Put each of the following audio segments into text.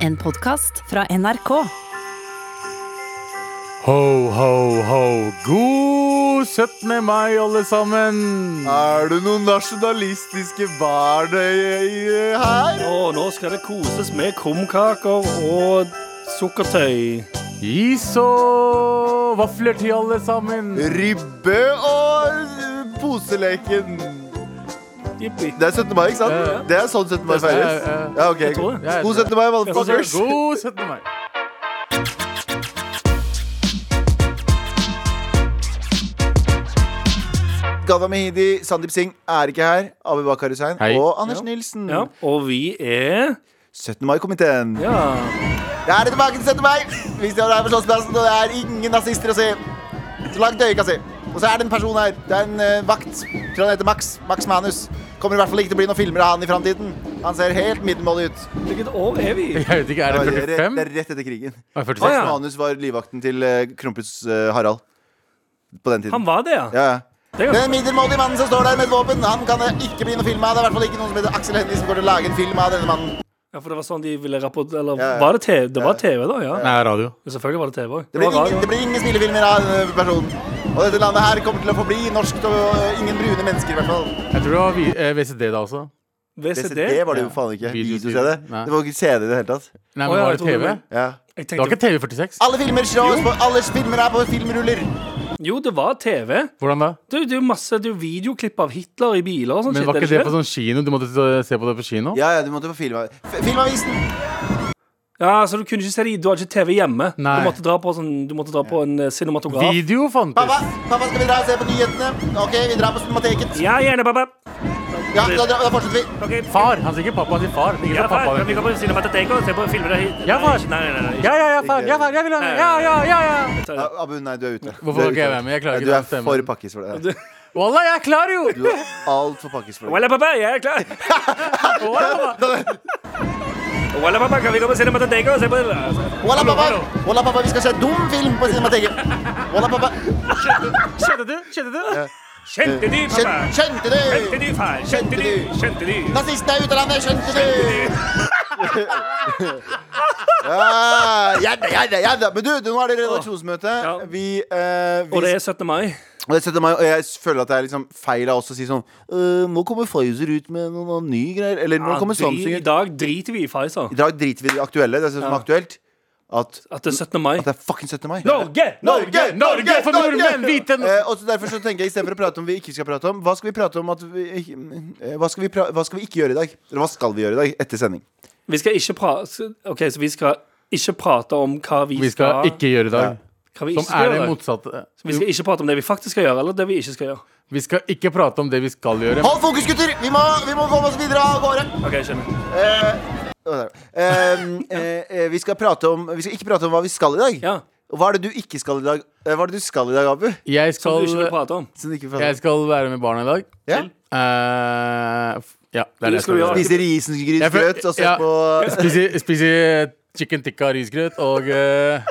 En podkast fra NRK. Ho, ho, ho. God 17. mai, alle sammen. Er det noen nasjonalistiske barn i- i- her? Og nå skal det koses med krumkaker og sukkertøy. Is og vafler til alle sammen. Ribbe og eh, poseleken. Jippi. Det er 17. mai, ikke Ja, sant? ja. Det er sånn 17. mai feires. Ja, ja. Ja, ok. Jeg tror det. Ja, jeg God tror 17. mai, motherfuckers. God 17. mai. Gadda Mehidi, Sandeep Singh er ikke her. Abu Bakar Hussein Hei. og Anders Nilsen. Ja, og vi er 17. mai-komiteen. Ja. Da er det tilbake til 17. mai. Vi står her på Slottsplassen, og det er ingen nazister å se. Så langt øyet kan se. Og så er det en person her. Det er en eh, vakt. Tror han heter Max. Max Manus. Kommer i hvert fall ikke til å bli noen filmer av han i framtiden. Han ser helt middelmådig ut. Hvilket år er vi? i? Jeg vet ikke, er det det, er, 45? det er rett etter krigen. Er det Å, 46? ja. Manus var livvakten til eh, kronprins eh, Harald på den tiden. Han var det, ja. ja, ja. Det er Den middelmådige mannen som står der med et våpen, han kan det ikke bli noe film av. Det er i hvert fall ikke noen som heter Aksel Hennie som går til å lage en film av denne mannen. Ja, for det var sånn de ville rapportere Eller Ja, ja. var det TV? Det var TV, da, ja. Nei, radio. Men Selvfølgelig var det TV òg. Det blir, ingen, det blir ingen spillefilmer av denne personen. Og dette landet her kommer til å forbli norskt og eh, ingen brune mennesker, i hvert fall. Jeg tror det var vi- eh, VCD da også. VCD? Det var det jo Ja. faen ikke. Video- Video-CD. Nei. Det var ikke CD i det hele tatt. Nei, Å, men ja, var jeg det tror det TV? var- Ja. Jeg Det var ikke tenkte, TV 46? Alle filmer slås på Alle filmer er på filmruller. jo, det var TV. Hvordan da? Det, det er jo masse det er jo videoklipp av Hitler i biler og sånn. Men shit, var er ikke det ikke på sånn kino? Du måtte eh, se på det på kino? Ja, ja, du måtte få filma. F- Filmavisen! Ja, så Du kunne ikke se det i- Du hadde ikke TV hjemme. sånn- Nei. Du måtte dra på, sånn, du måtte dra på en eh, cinematograf. Video Pappa, fantes. pappa, skal vi dra og se på nyhetene? OK, vi drar på Cinemateket. Ja, gjerne, pappa. Ja, da, da, da fortsetter vi. Ok, Far. Han sier ikke pappa, han sier far. Ingen Ja, sa far, pappa. kan vi gå på Cinemateket og se på filmer der? Ja, far. Nei, nei, nei, nei. Ja, ja, ja, far. Ja, far. Jeg vil ha det. Ja, ja, ja, ja. Ja, Abu, nei, du er ute. Hvorfor Du kan er ikke jeg ute. være med? Jeg klarer Nei, ikke den Du er stemmen. for pakkis for det. Wallah, jeg er klar, jo! Du er altfor pakkis for det. Walla, pappa, jeg er klar. Wallah, pappa. Walla, pappa, kan vi gå på Cinemateket og se på altså, Walla, hallo, pappa! hallo. Walla, pappa, vi skal se dum film på Cinemateket. Walla, pappa. Skjedde du? Skjedde du? Kjente du, pappa? Skjøn- Skjønte Kjente du? du, far? Kjente du? Kjente du? Nazistene er ute av landet, skjønte du? Ja, ja, da, ja, da, ja, da. Men du, nå er det redaksjonsmøte. Ja. Vi, eh, vi Og det er 17. mai. Og det setter meg, og jeg føler at det er liksom feil av oss å si sånn «Øh, Nå kommer Pfizer ut med noen, noen nye greier. Eller nå Ja, kommer dri- Samsung I ut. dag driter vi i Pfizer. I dag driter vi i det aktuelle. Det er det som er aktuelt. At, At det er 17. mai. at det er fucking 17. mai. Norge! Norge! Norge for nordmenn! Hvite nordmenn! Eh, og så derfor så tenker jeg Istedenfor å prate om vi ikke skal prate om, hva skal vi prate om at vi, ikke- eh, hva, skal vi pra hva skal vi ikke gjøre i dag? Eller hva skal vi gjøre i dag etter sending? Vi skal ikke prate Ok, så vi skal ikke prate om hva vi skal Vi skal ikke gjøre i dag. hva vi, ikke Som skal er det gjøre. motsatte. Vi skal ikke prate om det vi faktisk skal gjøre, eller det vi ikke skal gjøre. Vi skal ikke prate om det vi skal gjøre. Hold fokus, gutter! Vi må, vi må komme oss videre av gårde. Ok, skjønner Å, der. Ehm, eh, eh, vi, skal prate om, vi skal ikke prate om hva vi skal i dag. Ja, Og Hva er det du ikke skal i dag? Eh, Hva er det du skal i dag, Abu? Jeg Som skal, du ikke vil prate om. Som du jeg ikke prater om? skal være med barna i dag. Ja? Eh, f- ja, det er Du det jeg skal skal gjøre- gjøre. Spise risengrynsgrøt og se Ja. på Spise, spise chicken tikka risgrøt og eh,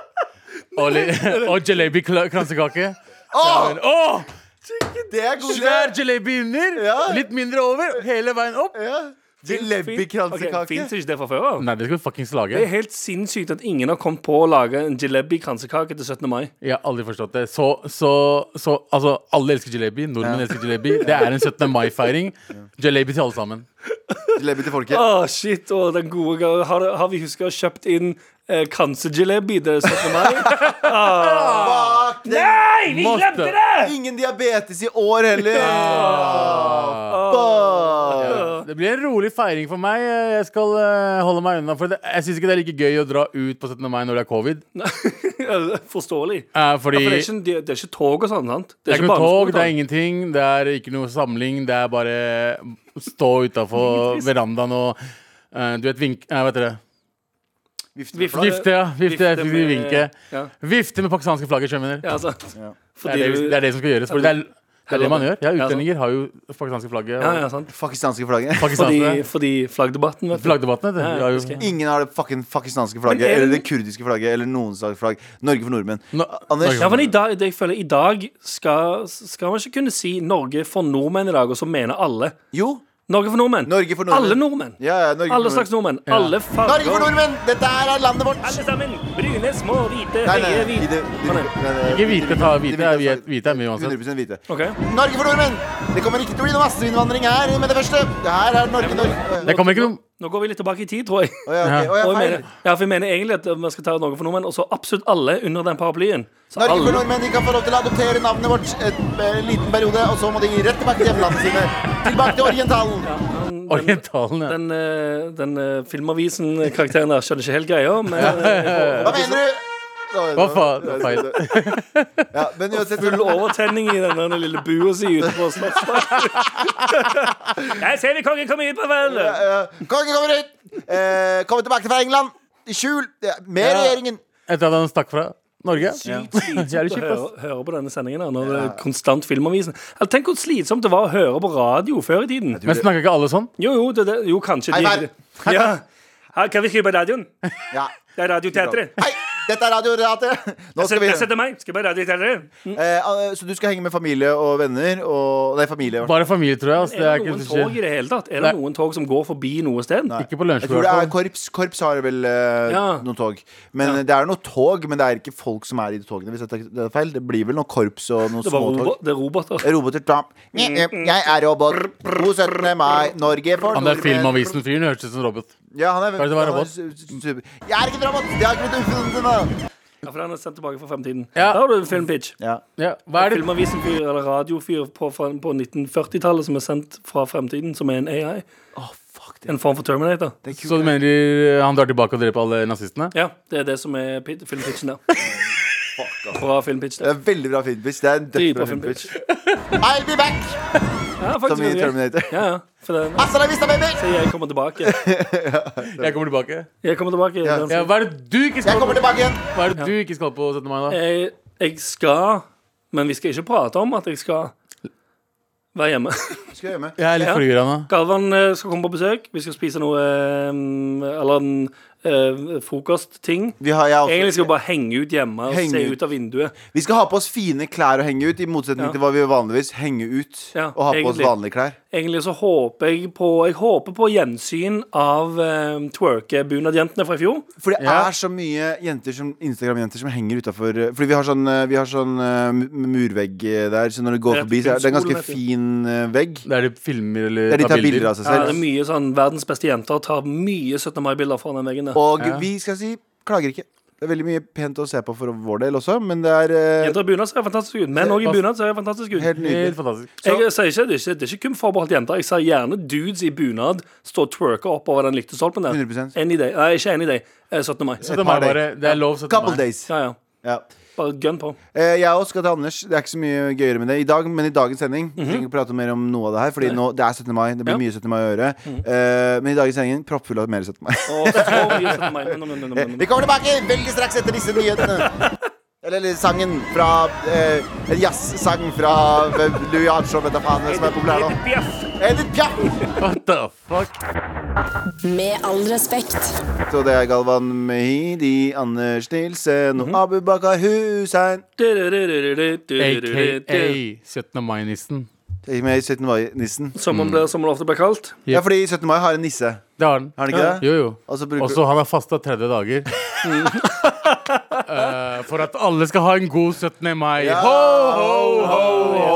og, li, og jalebi kla- kransekake. Åh, Men, Åh! det er god Svær jalebi under, Ja. litt mindre over, hele veien opp. Ja. Jalebi-kransekake. Ok, Fins ikke det fra før av? Nei, det skal vi fuckings Det lage. er helt sinnssykt at ingen har kommet på å lage en jalebi-kransekake til 17. mai. Jeg har aldri forstått det. Så, så, så altså, alle elsker jalebi. Nordmenn elsker jalebi. Det er en 17. mai-feiring. Jalebi til alle sammen. Jalebi til folket. Åh, shit, åh, den gode ga- har, har vi huska å kjøpt inn eh, kransejalebi til 17. mai? Fuck, det er Nei, vi Måtte. glemte det! ingen diabetes i år heller. Ah. Fuck. Ah. Det blir en rolig feiring for meg. Jeg skal eh, holde meg unna. For det, jeg syns ikke det er like gøy å dra ut på 17. mai når det er covid. Forståelig. Eh, fordi For det er, ikke, det, det er ikke tog og sånn, sant? det er ikke noe barneskole, tog, det er sant? ingenting. Det er ikke noe samling. Det er bare stå utafor verandaen og eh, Du vet, vink... Nei, hva heter det? Vifte. Vifte, ja. Vifte, jeg skulle si med- vinke. Ja, Vifte med pakistanske flagg, skjønner du. ja sant. Det, Fordi er det- du- det er det som skal gjøres. For det er, det er det man gjør. Ja, Ja, sant. Utlendinger har jo pakistanske flagget. ja, ja, Og sant. Pakistanske flagget. Fordi, pakistanske fordi flaggdebatten, vet du. flaggdebattene. det- Ja, de har jo- husker jeg. Ingen har det fucking pakistanske flagget Men er- eller det kurdiske flagget eller noen slags flagg. Norge for nordmenn. Nå- Anders, Ja, men i dag, det jeg føler i dag skal, skal man ikke kunne si Norge for nordmenn i dag, og så mener alle. jo, Norge for nordmenn. Norge for nordmenn. Alle nordmenn. Ja, ja, Norge for Alle nordmenn. slags nordmenn. Alle farger. Norge for nordmenn! Dette her er landet vårt. Alle sammen. Brune, små, hvite, Nei, nei, høye, nei, hvite. det- det- Sånn, nei, nei, Ikke hvite, ta det- hvite, det- er hvite- hvite er mye uansett. 100% hvite. OK. Norge for nordmenn! Det kommer ikke til å bli noe masseinnvandring her med det første. Det her er Norge, Norge. Det kommer ikke noe Nå går vi litt tilbake i tid, tror jeg. Å ja, ok. Å ja, Og jeg feil. mener, ja, for jeg mener egentlig at man skal ta Norge for nordmenn, og så absolutt alle under den paraplyen. Så Norge for alle nordmenn de kan få lov til å adoptere navnet vårt et, eh, liten periode, og så må de rett tilbake til hjemlandet sine. Tilbake til orientalen. Orientalen ja. Den, eh, den eh, Filmavisen-karakteren der skjønner ikke helt greia, men eh, Hva mener du? Hva faen? Det er feil. Ja, men uansett full overtenning i den der lille bua si ute på Slottsparken. Der ser vi kongen komme hit på veldet! eh, Kongen kommer ut! Eh, kommer tilbake fra England. I skjul. Ja, Med Ja. regjeringen. Etter at han stakk fra Norge. Ja. Sykt slitsomt Jævlig å kjipt, ass. høre, høre på denne sendingen her, når det er konstant Filmavisen. Eller, tenk hvor slitsomt det var å høre på radio før i tiden. Men snakka ikke alle sånn? Jo, jo, det, det, jo kanskje Hei, de- hei. ja. Her kan vi skrive på radioen. Ja. Det er Radioteatret. Hei, dette er Radioteatret. Nå skal vi Jeg setter meg. Skal på Radioteatret. eh, Så du skal henge med familie og venner og Nei, familie. i hvert fall. Bare familie, tror jeg. ass. Er det det er noen ikke, tog i det hele tatt? Er Nei. det noen tog som går forbi noe sted? ikke på Jeg lunsj. tror det er hvertfall. korps. Korps har vel eh, Ja. noen tog. Men eh, det er noen tog, men det er ikke folk som er i de togene. Hvis dette det er feil. Det blir vel noen korps og noen Det, var små Mm, tog. robo det er roboter. Roboter da. Jeg er robot. God 17. mai. Norge for Han der nordmenn. Filmavisen-fyren hørtes ut som robot. Ja, han er, Kanskje det var han er robot? su- su- super. Jeg er ikke en robot! Jeg har ikke blitt utfunnet ennå. Ja, for den er sendt tilbake fra fremtiden. Ja. Da har du en filmpitch. Ja. Ja, hva er det? Filmavisen-fyr eller radiofyr på, fra- på 1940-tallet som er sendt fra fremtiden, som er en AI. Åh, fuck det. En form for Terminator. Det er Så du kult. mener han drar tilbake og dreper alle nazistene? Ja, det er det som er pit- filmpitchen der. Bra filmpitch Det der. er veldig bra filmpitch. Det er en Dritbra dødsbra filmpitch. filmpitch. I'll be back! Ja, Som faktisk. i veldig greit. Terminator. Ja, ja. For den, Hasta la vista, baby! jeg kommer tilbake. Jeg kommer tilbake. Jeg kommer tilbake. den- Ja, hva er det du ikke Jeg skal på? kommer tilbake igjen. Hva er det du ikke skal på 17. mai, da? Jeg, jeg skal Men vi skal ikke prate om at jeg skal være hjemme. Skal jeg gjøre med? Jeg er litt Ja. forvirra nå. Galvan eh, skal komme på besøk. Vi skal spise noe eh, Eller en eh, frokostting. Vi, har, Altså, jeg har Egentlig også, skal vi bare henge ut hjemme og Henge se ut. ut av vinduet. vi skal ha på oss fine klær og henge ut, i motsetning Ja. til hva vi vanligvis henger ut. Ja, og ha på oss egentlig. vanlige klær. Egentlig så håper jeg på Jeg håper på gjensyn av eh, twerkebunadjentene fra i fjor. For det Ja. er så mye jenter som Instagram-jenter som henger utafor Fordi vi har sånn, eh, vi har sånn eh, mu- murvegg eh, der, så når du går Rett forbi, så er det en ganske rundt skolen, fin eh, vegg. Det er de filmer eller Der de tar bilder av seg Ja, det er selv. mye sånn Verdens beste jenter tar mye 17. mai-bilder fra den veggen der. Og Ja. vi skal si klager ikke. Det er veldig mye pent å se på for vår del også, men det er eh, Jenter i bunad ser fantastisk ut. Menn òg i bunad ser fantastisk ut. helt Helt nydelig. fantastisk. Jeg sier ikke, det, er ikke, det er ikke kun forbeholdt jenter. Jeg ser gjerne dudes i bunad stå og twerke oppover den lyktestolpen der. 100%. Any day. Nei, ikke any day. Eh, 17. mai. 17. mai, bare. Det er lov 17. Couple mai. days. Ja, ja. Ja. Bare gønn på. Eh, Jeg også skal til Anders. Det er ikke så mye gøyere med det i dag, men i dagens sending Vi trenger ikke prate mer om noe av det her, Fordi nå, det er 17. mai. Det blir Ja. mye 17. mai å gjøre. Eh, men i dagens sending proppfull av mer 17. mai. Og så mye 17. mai. Men, men, men, men, Vi men. kommer tilbake veldig straks etter disse nyhetene. Eller, eller sangen fra eh, En jazzsang fra eh, Louis Armstrong, vet da faen hvem som er populær nå. Edith Piaf! What the fuck? Med all respekt. Så det er Galvan Mehidi, Anders Nilsen og Abu Bakar Hussein. AKA AKA. 17. mai-nissen. Ikke med i 17. mai-nissen. Som om det, som det ofte blir kalt. Ja, fordi 17. mai har en nisse. Det har den. Har den ikke det? Jo, jo. Og så bruker- Og så han har fasta 30 dager. Eh, for at alle skal ha en god 17. mai. Ja. Ho, ho, ho, ho.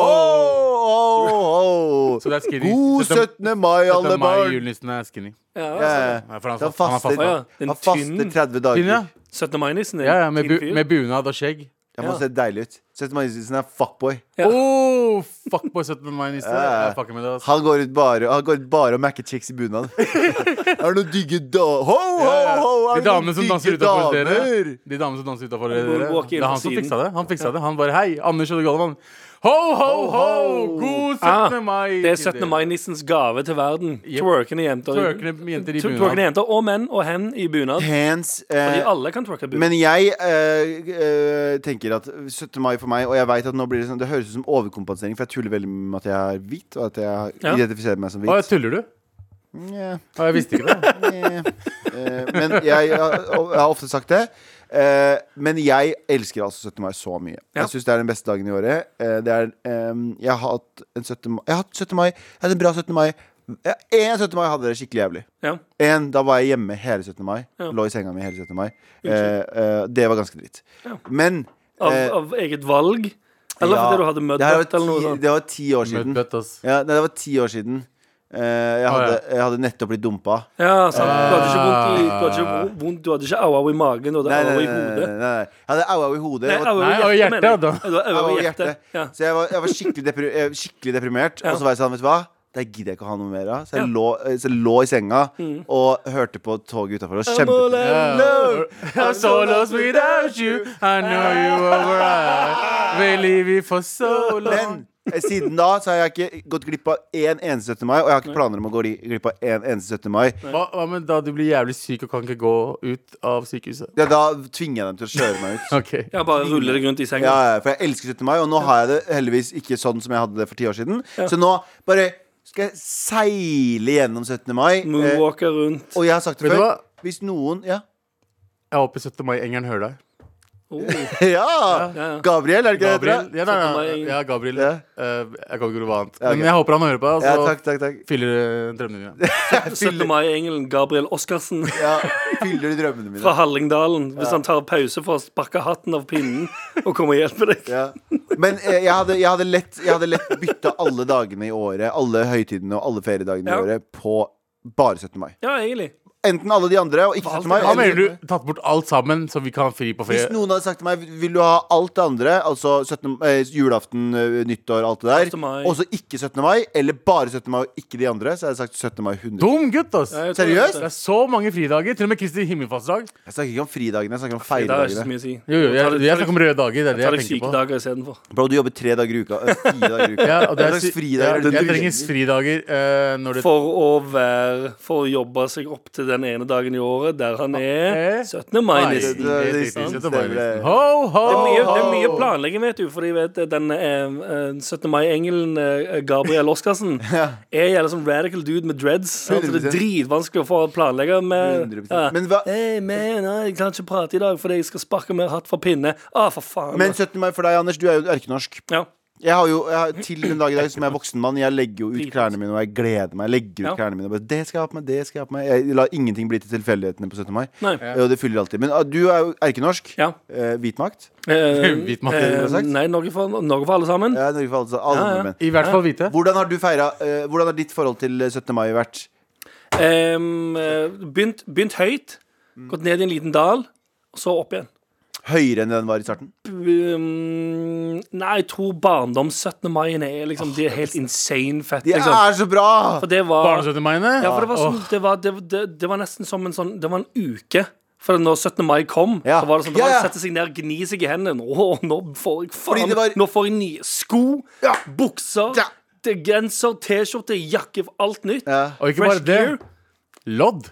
Åh, åh, åh. Så det er skinny. God 17. mai, alle 17. mai, barn. julenissen er skinny. Ja, Ja, Nei, for han har fast- han Han har faster, fasta. Ja, den han faster tynn- 30 dager. Tynn, ja. Ja, 17. mai-nissen er Ja, ja, med, fin bu fyr. med bunad og skjegg. Han ser deilig ut. 17. mai-nissen er fuckboy. Ja. Oh, fuck på 17. mai-nisse. Ja. Jeg fucker med det. altså. ass. Han går ut bare Han går ut bare og macker chicks i bunad. er det noen digge da... Ho, ho, ho! er De det noen damene som digge danser utenfor dere. damer? De damene som danser utenfor må dere. walk Det inn er fra han som siden. fiksa det. Han fiksa det. Han bare Hei, Anders og Galvan. Ho, ho, ho! God 17. Ah, mai. Det er 17. mai-nissens gave til verden. Twerkende jenter. i- Twerkende jenter i bunad. Twerkende jenter og menn og hen i bunad. Hands Fordi eh, alle kan twerke bunad. Men jeg eh, eh, tenker at 17. mai for meg Og jeg vet at nå blir det sånn Det høres ut som overkompensering, for jeg tuller veldig med at jeg er hvit. Og at jeg Ja. identifiserer meg som Å, jeg hvit. tuller du? Nja. Å, jeg visste ikke det. Eh, Men jeg, jeg, jeg har ofte sagt det. Eh, men jeg elsker altså 17. mai så mye. Ja. Jeg syns det er den beste dagen i året. Eh, det er, eh, jeg har hatt en 17. mai Jeg har hatt 17. mai Jeg hadde en bra 17. mai Ja, en 17. mai hadde det skikkelig jævlig. Ja. En, da var jeg hjemme hele 17. mai. Ja. Lå i senga mi hele 17. mai. Eh, eh, det var ganske dritt. Men Av, eh, av eget valg? Eller ja, fordi du hadde det her var møtt eller noe ti- sånt? Det var ti år siden. Mudbutt, ass. Ja, nei, det var ti år siden. Eh, jeg, Å, ja. hadde, jeg hadde nettopp blitt dumpa. Ja, sant. Du hadde ikke vondt i Du hadde ikke vo- vondt, du hadde ikke au-au i magen, du hadde Ah. Nei, nei, au-au nei, nei, i nei, hodet. nei. Jeg hadde au-au i hodet. Jeg var- au-au i Nei, au i hjertet, mener jeg. da. Ja, Du hadde au-au i hjertet. Ja. Så jeg var, jeg var skikkelig, depri jeg var skikkelig deprimert. Og så var jeg sånn, vet du hva? Det gidder jeg ikke å ha noe mer av. Så jeg, Ja. Mm. lå, så jeg lå i senga og hørte på toget utafor og I'm all kjempet. Yeah. I'm so lost without you. I know you were right. Believe you for so long. Men eh, siden da så har jeg ikke gått glipp av én eneste 17. mai, og jeg har ikke planer om å gå li- glipp av én eneste 17. mai. Hva, hva med da du blir jævlig syk og kan ikke gå ut av sykehuset? Ja, da tvinger jeg dem til å kjøre meg ut. Ok Ja, bare rulle deg rundt i Mm. Ja, senga. ja, for jeg elsker 17. mai, og nå har jeg det heldigvis ikke sånn som jeg hadde det for ti år siden. Så nå bare skal jeg seile gjennom 17. mai. eh, Moonwalker rundt. Og jeg har sagt det Vet du før. hva? Hvis noen Ja. Jeg håper 17. mai-engelen hører deg. Oh. ja. ja. Gabriel, er det ikke det? Gabriel. heter, Ja, nei, nei, 17. mai. ja, Gabriel. Ja. Eh, jeg kan ikke gjøre noe annet. ok. Men jeg håper han hører på, da? Ja, så takk, takk, takk. fyller eh, drømmene dine. 17. mai-engelen Gabriel Oscarsen Ja, fyller du drømmene mine? fra Hallingdalen. Hvis han tar pause for å sparke hatten av pinnen og komme og hjelpe deg. Ja. Men eh, jeg hadde, jeg hadde lett, jeg hadde lett bytta alle dagene i året, alle høytidene og alle feriedagene Ja. i året, på bare 17. mai. Ja, egentlig. Enten alle de andre og ikke 17. mai. Hva eller- mener du? Tatt bort alt sammen, så vi kan ha fri på Hvis ferie? noen hadde sagt til meg Vil du ha alt det andre, altså 17, eh, julaften, eh, nyttår, alt det 17. der, mai. og så ikke 17. mai, eller bare 17. mai og ikke de andre, så hadde jeg sagt 17. mai 100 Dum gutt, ass! Ja, jeg Det tror Seriøst? det. er så mange fridager. Til og med Kristi himmelfartsdag. Jeg snakker ikke om fridagene, jeg snakker om Det er ikke så feiredagene. mye å si. Jo, jo, Ta jeg, deg- jeg snakker om røde dager. Det er det Ta jeg deg tenker på. sykedager istedenfor. Bro, du jobber tre dager i uka. eh, Fire dager i uka. Ja, og det er, Hva slags sy- fridager er ja, det jeg du trenger jobber? fridager eh, når det For å være For å jobbe seg opp til den ene dagen i året der han er 17. Nei, mai-nissen. det- Det det- det- det- det- det- det- Ho, er ho! mye, det er mye planlegging, vet du. Fordi vet, du, den eh, eh, 17. mai-engelen eh, Gabriel Oscarsen er en jævla sånn radical dude med dreads. sant? Så det er 100%. dritvanskelig å få planlegge med 100%. ja. Men hva- hey, man, eh, Jeg kan ikke prate i dag fordi jeg skal sparke mer hatt fra pinne. Å, for faen. altså. Men 17. mai for deg, Anders, du er jo erkenorsk. ja. Jeg har jo, jeg har, til den dag i dag som jeg er voksen mann, jeg legger jo ut Dritnorsk. klærne mine, og jeg gleder meg. Jeg legger ut Ja. klærne mine og bare, Det skal jeg ha på meg, det skal jeg ha på meg. Jeg lar ingenting bli til tilfeldighetene på 17. mai. Nei. Og det fyller alltid. Men ah, du er jo erkenorsk. Ja. Eh, Hvitmakt. Eh, Hvit makt, eh, ville jeg sagt. nei, Norge for, Norge for alle sammen. Ja, Norge for alle, alle Ja, ja. nordmenn. I hvert fall hvite. Hvordan har du feira eh, Hvordan har ditt forhold til eh, 17. mai vært? Ehm, eh, begynt, begynt høyt, Mm. gått ned i en liten dal, og så opp igjen. Høyere enn den var i starten? Um, nei, jeg tror barndoms 17. mai er liksom De er helt insane fett. Det Liksom. er så bra! For det var, Barnesøsteren mine. ja, for det, var Åh, sånn, det, var, det, det, det var nesten som en sånn Det var en uke. For når 17. mai kom, Ja. så var det sånn Ja, da ja. Sette seg ned, gni seg i hendene. Nå, nå får jeg Fordi faen det var- Nå får jeg nye sko, Ja. bukser, Ja. det- genser, T-skjorte, jakke. Alt nytt. Ja. Og ikke bare det. gear. Lodd.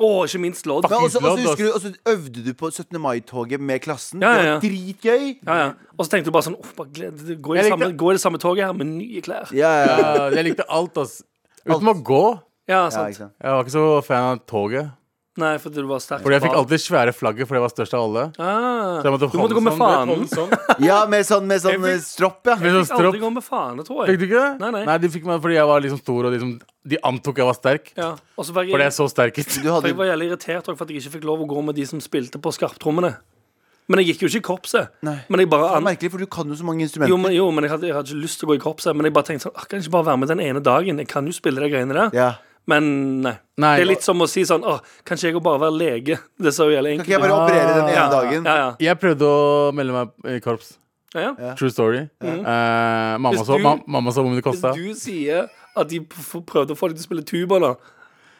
Og ikke minst lodd. Men også, også Lodd, husker du, og så øvde du på 17. mai-toget med klassen. Ja, ja, ja. Det var dritgøy. Ja, ja. Og så tenkte du bare sånn «Åh, bare gled, gå, i Jeg likte- samme, gå i det samme toget her med nye klær. Ja, ja, ja. Ja, Eh, jeg likte alt, ass. Uten å gå. Ja, ja, sant. ikke sant. Jeg var ikke så fan av toget. Nei, for du var sterk. Fordi jeg fikk barn. alltid svære flagget, for det var størst av alle. ah, Så jeg måtte Du holde måtte gå med sånn, du vet, fanen. holde sånn. ja med sånn, med sånn Jeg eh, stropp, ja. Med sånn Fikk aldri stropp. gå med fane, tror Fikk du jeg. ikke det? Nei, nei. de fikk meg fordi jeg var liksom stor, og de, som- de antok jeg var sterk. Ja. Og så var Fordi jeg jeg, så sterk ut. Du for hadde jeg var jævlig irritert også for at jeg ikke fikk lov å gå med de som spilte på skarptrommene. Men jeg gikk jo ikke i korpset. Men jeg bare Det er an... merkelig, for du kan jo så mange instrumenter. Jo, men, jo, men jeg, hadde, jeg hadde ikke lyst til å gå i korpset. Men jeg bare tenkte sånn «Åh, Kan jeg ikke bare være med den ene dagen? Jeg kan jo spille de greiene der. ja. Men nei. Nei, Det er litt som å si sånn Å, kanskje jeg går bare være lege? Det ser jo jævlig Kan enkelt ikke jeg bare Ja. operere den ene Ja. dagen? Ja, ja. Jeg prøvde å melde meg i korps. ja, ja. True story. Eh, mamma, Mm. Hvis så, du- ma mamma så hvor mye det Hvis kosta. du sier at de p- f- prøvde å få deg til å spille tuba, da,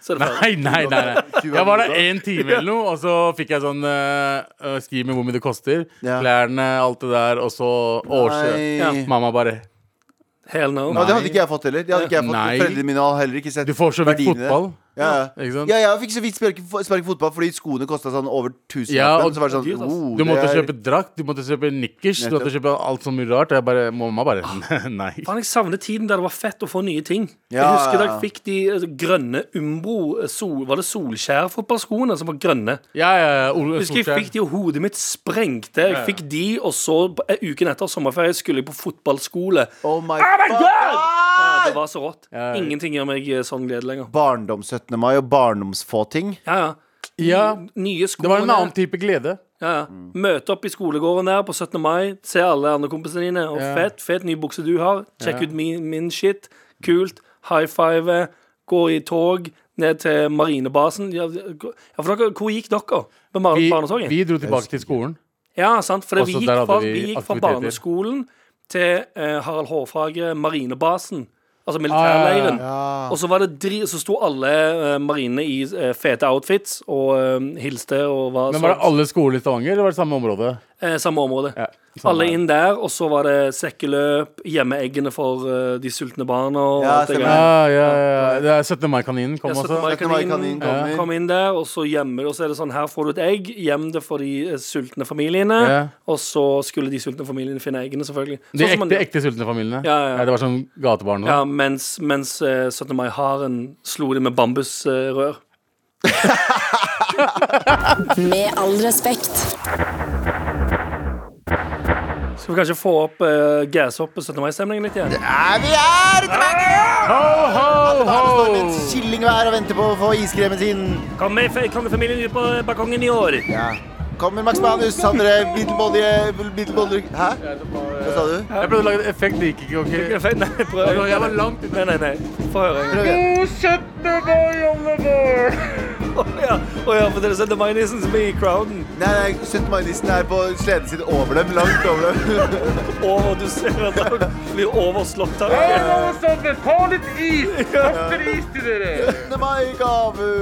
så er det ferdig. Nei, nei, nei. nei. Jeg var der én time eller noe, og så fikk jeg sånn uh, skriv med hvor mye det koster. Ja. Klærne, alt det der, og så årsø. Nei. Mamma bare Hell no. Ja, det hadde ikke jeg fått heller. Det hadde ikke jeg fått Nei. Foreldrene mine har heller ikke sett Du får så vidt verdien i det. fotball. Ja, ja. Ikke sant? ja, jeg fikk så vidt sparke, sparke fotball fordi skoene kosta sånn over 1000 Ja, lappen, og- Så var det Dyrt, sånn ass. oh, Du måtte det er- kjøpe drakt, du måtte kjøpe nikkers, du Nettopp. måtte kjøpe alt så mye rart. Og jeg bare, mamma bare Nei. Ah. Faen, jeg savner tiden der det var fett å få nye ting. jeg Ja, husker da ja, jeg fikk de eh, grønne Umbro eh, sol, Var det Solskjær-fotballskoene som var grønne? Ja, ja, ja, Ole Jeg husker jeg Solskjær. fikk de, og hodet mitt sprengte. Jeg fikk de, og så eh, uken etter sommerferie skulle jeg på fotballskole. Oh my, Oh my fuck. God! Ja, det var så rått. Ja. Ingenting gjør meg sånn glede lenger. Barndoms-17. mai og barndomsfåting. Ja, ja. Ja, Nye det var en skoene. annen type glede. Ja, ja. Møte opp i skolegården der på 17. mai, se alle andre kompisene dine. Og Ja. fett, fett ny bukse du har. Sjekk Ja. ut min, min shit. Kult. High five. Gå i tog ned til marinebasen. Ja, gå- ja for dere, hvor gikk dere? På Mar- Vi, barnehagen? vi dro tilbake til skolen. Ja, sant, for det, vi Også gikk der hadde fra, vi vi gikk fra aktiviteter. barneskolen til eh, Harald Hårfagre, marinebasen. Altså Ah, militærleiren. ja. Og så, var det dri så sto alle eh, marinene i eh, fete outfits og eh, hilste og var, Men Var det så- alle skoler i Stavanger, eller var det samme område? eh, samme område. Ja, samme Alle her. inn der, og så var det sekkeløp, hjemmeeggene for eh, de sultne barna. Og Ja, alt det stemmer. Ja, greia. ja, ja. Det er 17. mai-kaninen kom Ja, 17. også. mai Dette var kanin kaninen kommer. kom inn der, og så gjemmer Og så er det sånn, her får du et egg, gjem det for de eh, sultne familiene. Ja. Og så skulle de sultne familiene finne eggene, selvfølgelig. De Sånn som man ekte, gjør. ekte sultne familiene. Ja, ja, ja. Ja, det var sånn gatebarn. og Ja, mens, mens eh, 17. mai-haren slo det med bambusrør. Med all respekt. Skal vi kanskje få opp uh, gassopp 17. mai-stemningen litt igjen? Ja, vi er tilbake! Ho, ho, Barnestormens ho! Killingvær og venter på å få iskremen sin. Kom med fe- kongefamilien ut på balkongen i år. Ja. Kommer Max Manus, andre middelmådige middelmådige- Hæ? Hva sa du? Jeg prøvde å lage et effekt, det gikk ikke. ok? Nei, prøv. Jeg var langt Nei, nei, nei. Få høre. Prøv igjen. Å ja. Å ja, for dere sendte Mainissen som er i crowden. Nei, nei, 17. mai-nissen er på sleden sin over dem. Langt over dem. Og du ser at han blir overslått av Ta litt is! Kaster is til dere! 17. mai-gaver.